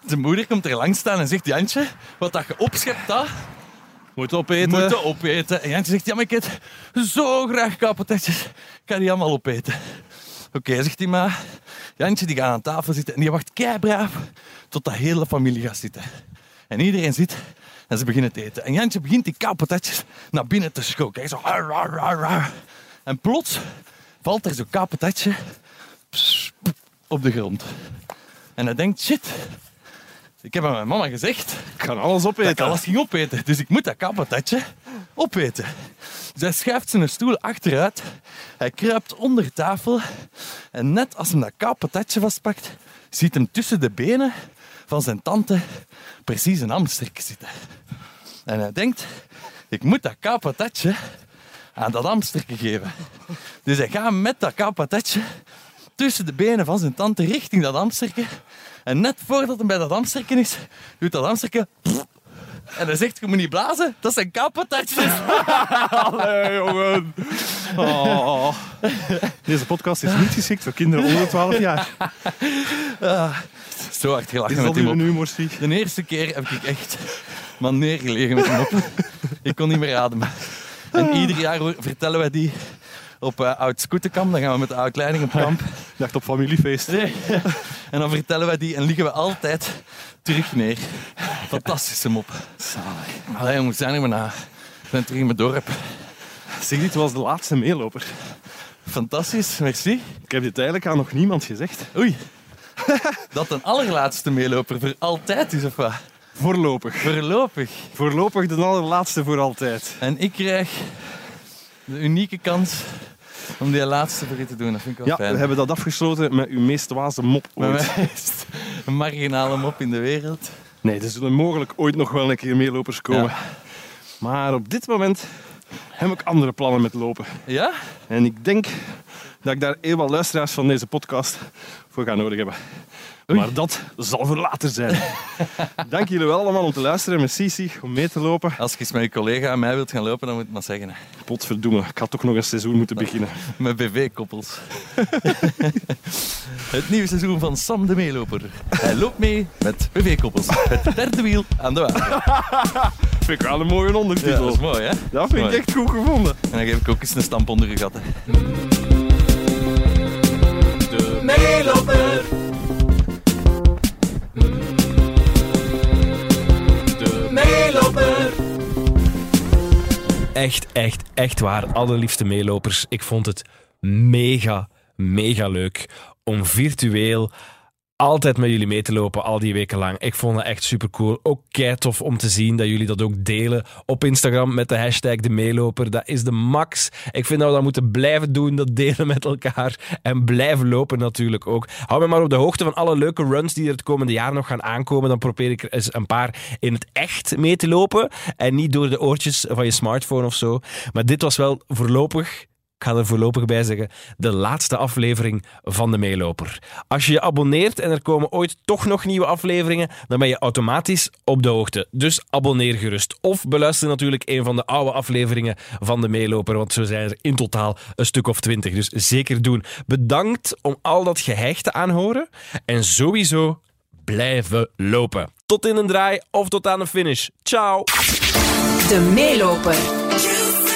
zijn moeder komt er langs staan en zegt, Jantje, wat dat je opschept, dat
Moet opeten.
moeten opeten. En Jantje zegt, ja, maar ik eet zo graag kapotetjes. Ik ga die allemaal opeten. Oké, zegt hij maar. Jantje die gaat aan tafel zitten en die wacht keibraaf tot de hele familie gaat zitten. En iedereen zit en ze beginnen te eten. En Jantje begint die kapotetjes naar binnen te schokken. Hij zo... "Ar, ar, ar, ar." En plots valt er zo'n kapotetje op de grond. En hij denkt, shit, ik heb aan mijn mama gezegd
Ik kan alles
dat ik
opeten.
alles ging opeten. Dus ik moet dat kapotatje opeten. Dus hij schuift zijn stoel achteruit. Hij kruipt onder de tafel. En net als hij dat kapotatje vastpakt, ziet hem tussen de benen van zijn tante precies een hamstrik zitten. En hij denkt, ik moet dat kapotatje aan dat hamsterke geven. Dus hij gaat met dat kapotatje tussen de benen van zijn tante richting dat hamsterke. En net voordat hij bij dat hamsterke is, doet dat hamsterke... En hij zegt, je moet niet blazen, dat zijn kapotatjes.
Allee, jongen. Oh. Deze podcast is niet geschikt voor kinderen onder de 12 jaar.
[laughs] Zo hard
Is
gelachen
dat
met die
uw
mop.
humor, Stieg?
De eerste keer heb ik echt man neergelegen met die [laughs] mop. Ik kon niet meer ademen. En ieder jaar hoor- vertellen wij die op eh oud scooterkamp. Dan gaan we met de oud-leiding op kamp.
Dacht op familiefeest.
[laughs] Nee. En dan vertellen wij die en liggen we altijd terug neer. Fantastische mop. Zalig. Allee jongens, zijn er maar na. Ik ben terug in mijn dorp.
Zeg, dit was de laatste meeloper.
Fantastisch, merci.
Ik heb dit eigenlijk aan nog niemand gezegd.
[laughs] Oei. Dat een allerlaatste meeloper voor altijd is of wat?
Voorlopig.
Voorlopig.
Voorlopig de allerlaatste voor altijd.
En ik krijg de unieke kans om die laatste voor je te doen. Dat vind ik wel
Ja, we
fijn.
hebben dat afgesloten met uw meest waze mop
Met
ooit.
mij is het een marginale mop in de wereld.
Nee, er zullen mogelijk ooit nog wel een keer meelopers komen.
Ja.
Maar op dit moment heb ik andere plannen met lopen.
Ja?
En ik denk dat ik daar heel wat luisteraars van deze podcast voor ga nodig hebben. Maar dat zal voor later zijn. [laughs] Dank jullie wel allemaal om te luisteren. Merci Sieg, om mee te lopen.
Als je eens met je collega aan mij wilt gaan lopen, dan moet je het maar zeggen. hè.
Potverdomme, ik had toch nog een seizoen moeten beginnen.
Met
[laughs]
BV-koppels. het nieuwe seizoen van Sam de Meeloper. Hij loopt mee met BV-koppels. Het derde wiel aan de wagen.
Vind ik wel een mooie
Ja,
ondertitel.
dat is mooi, hè?
dat vind ik
mooi.
echt goed gevonden.
En dan geef ik ook eens een stamp onder je gat. hè.
meeloper. De meeloper. Echt, echt, echt waar. Allerliefste meelopers. Ik vond het mega, mega leuk om virtueel altijd met jullie mee te lopen, al die weken lang. Ik vond het echt super cool. Ook kei tof om te zien dat jullie dat ook delen op Instagram met de hashtag de meeloper. Dat is de max. Ik vind dat we dat moeten blijven doen, dat delen met elkaar. En blijven lopen natuurlijk ook. Hou me maar op de hoogte van alle leuke runs die er het komende jaar nog gaan aankomen. Dan probeer ik er eens een paar in het echt mee te lopen. En niet door de oortjes van je smartphone of zo. Maar dit was wel voorlopig ik ga er voorlopig bij zeggen, de laatste aflevering van de Meeloper. Als je je abonneert en er komen ooit toch nog nieuwe afleveringen, dan ben je automatisch op de hoogte. Dus abonneer gerust. Of beluister natuurlijk een van de oude afleveringen van de Meeloper, want zo zijn er in totaal een stuk of twintig. Dus zeker doen. Bedankt om al dat gehechte aanhoren. En sowieso blijven lopen. Tot in een draai of tot aan de finish. Ciao!
De meeloper.
You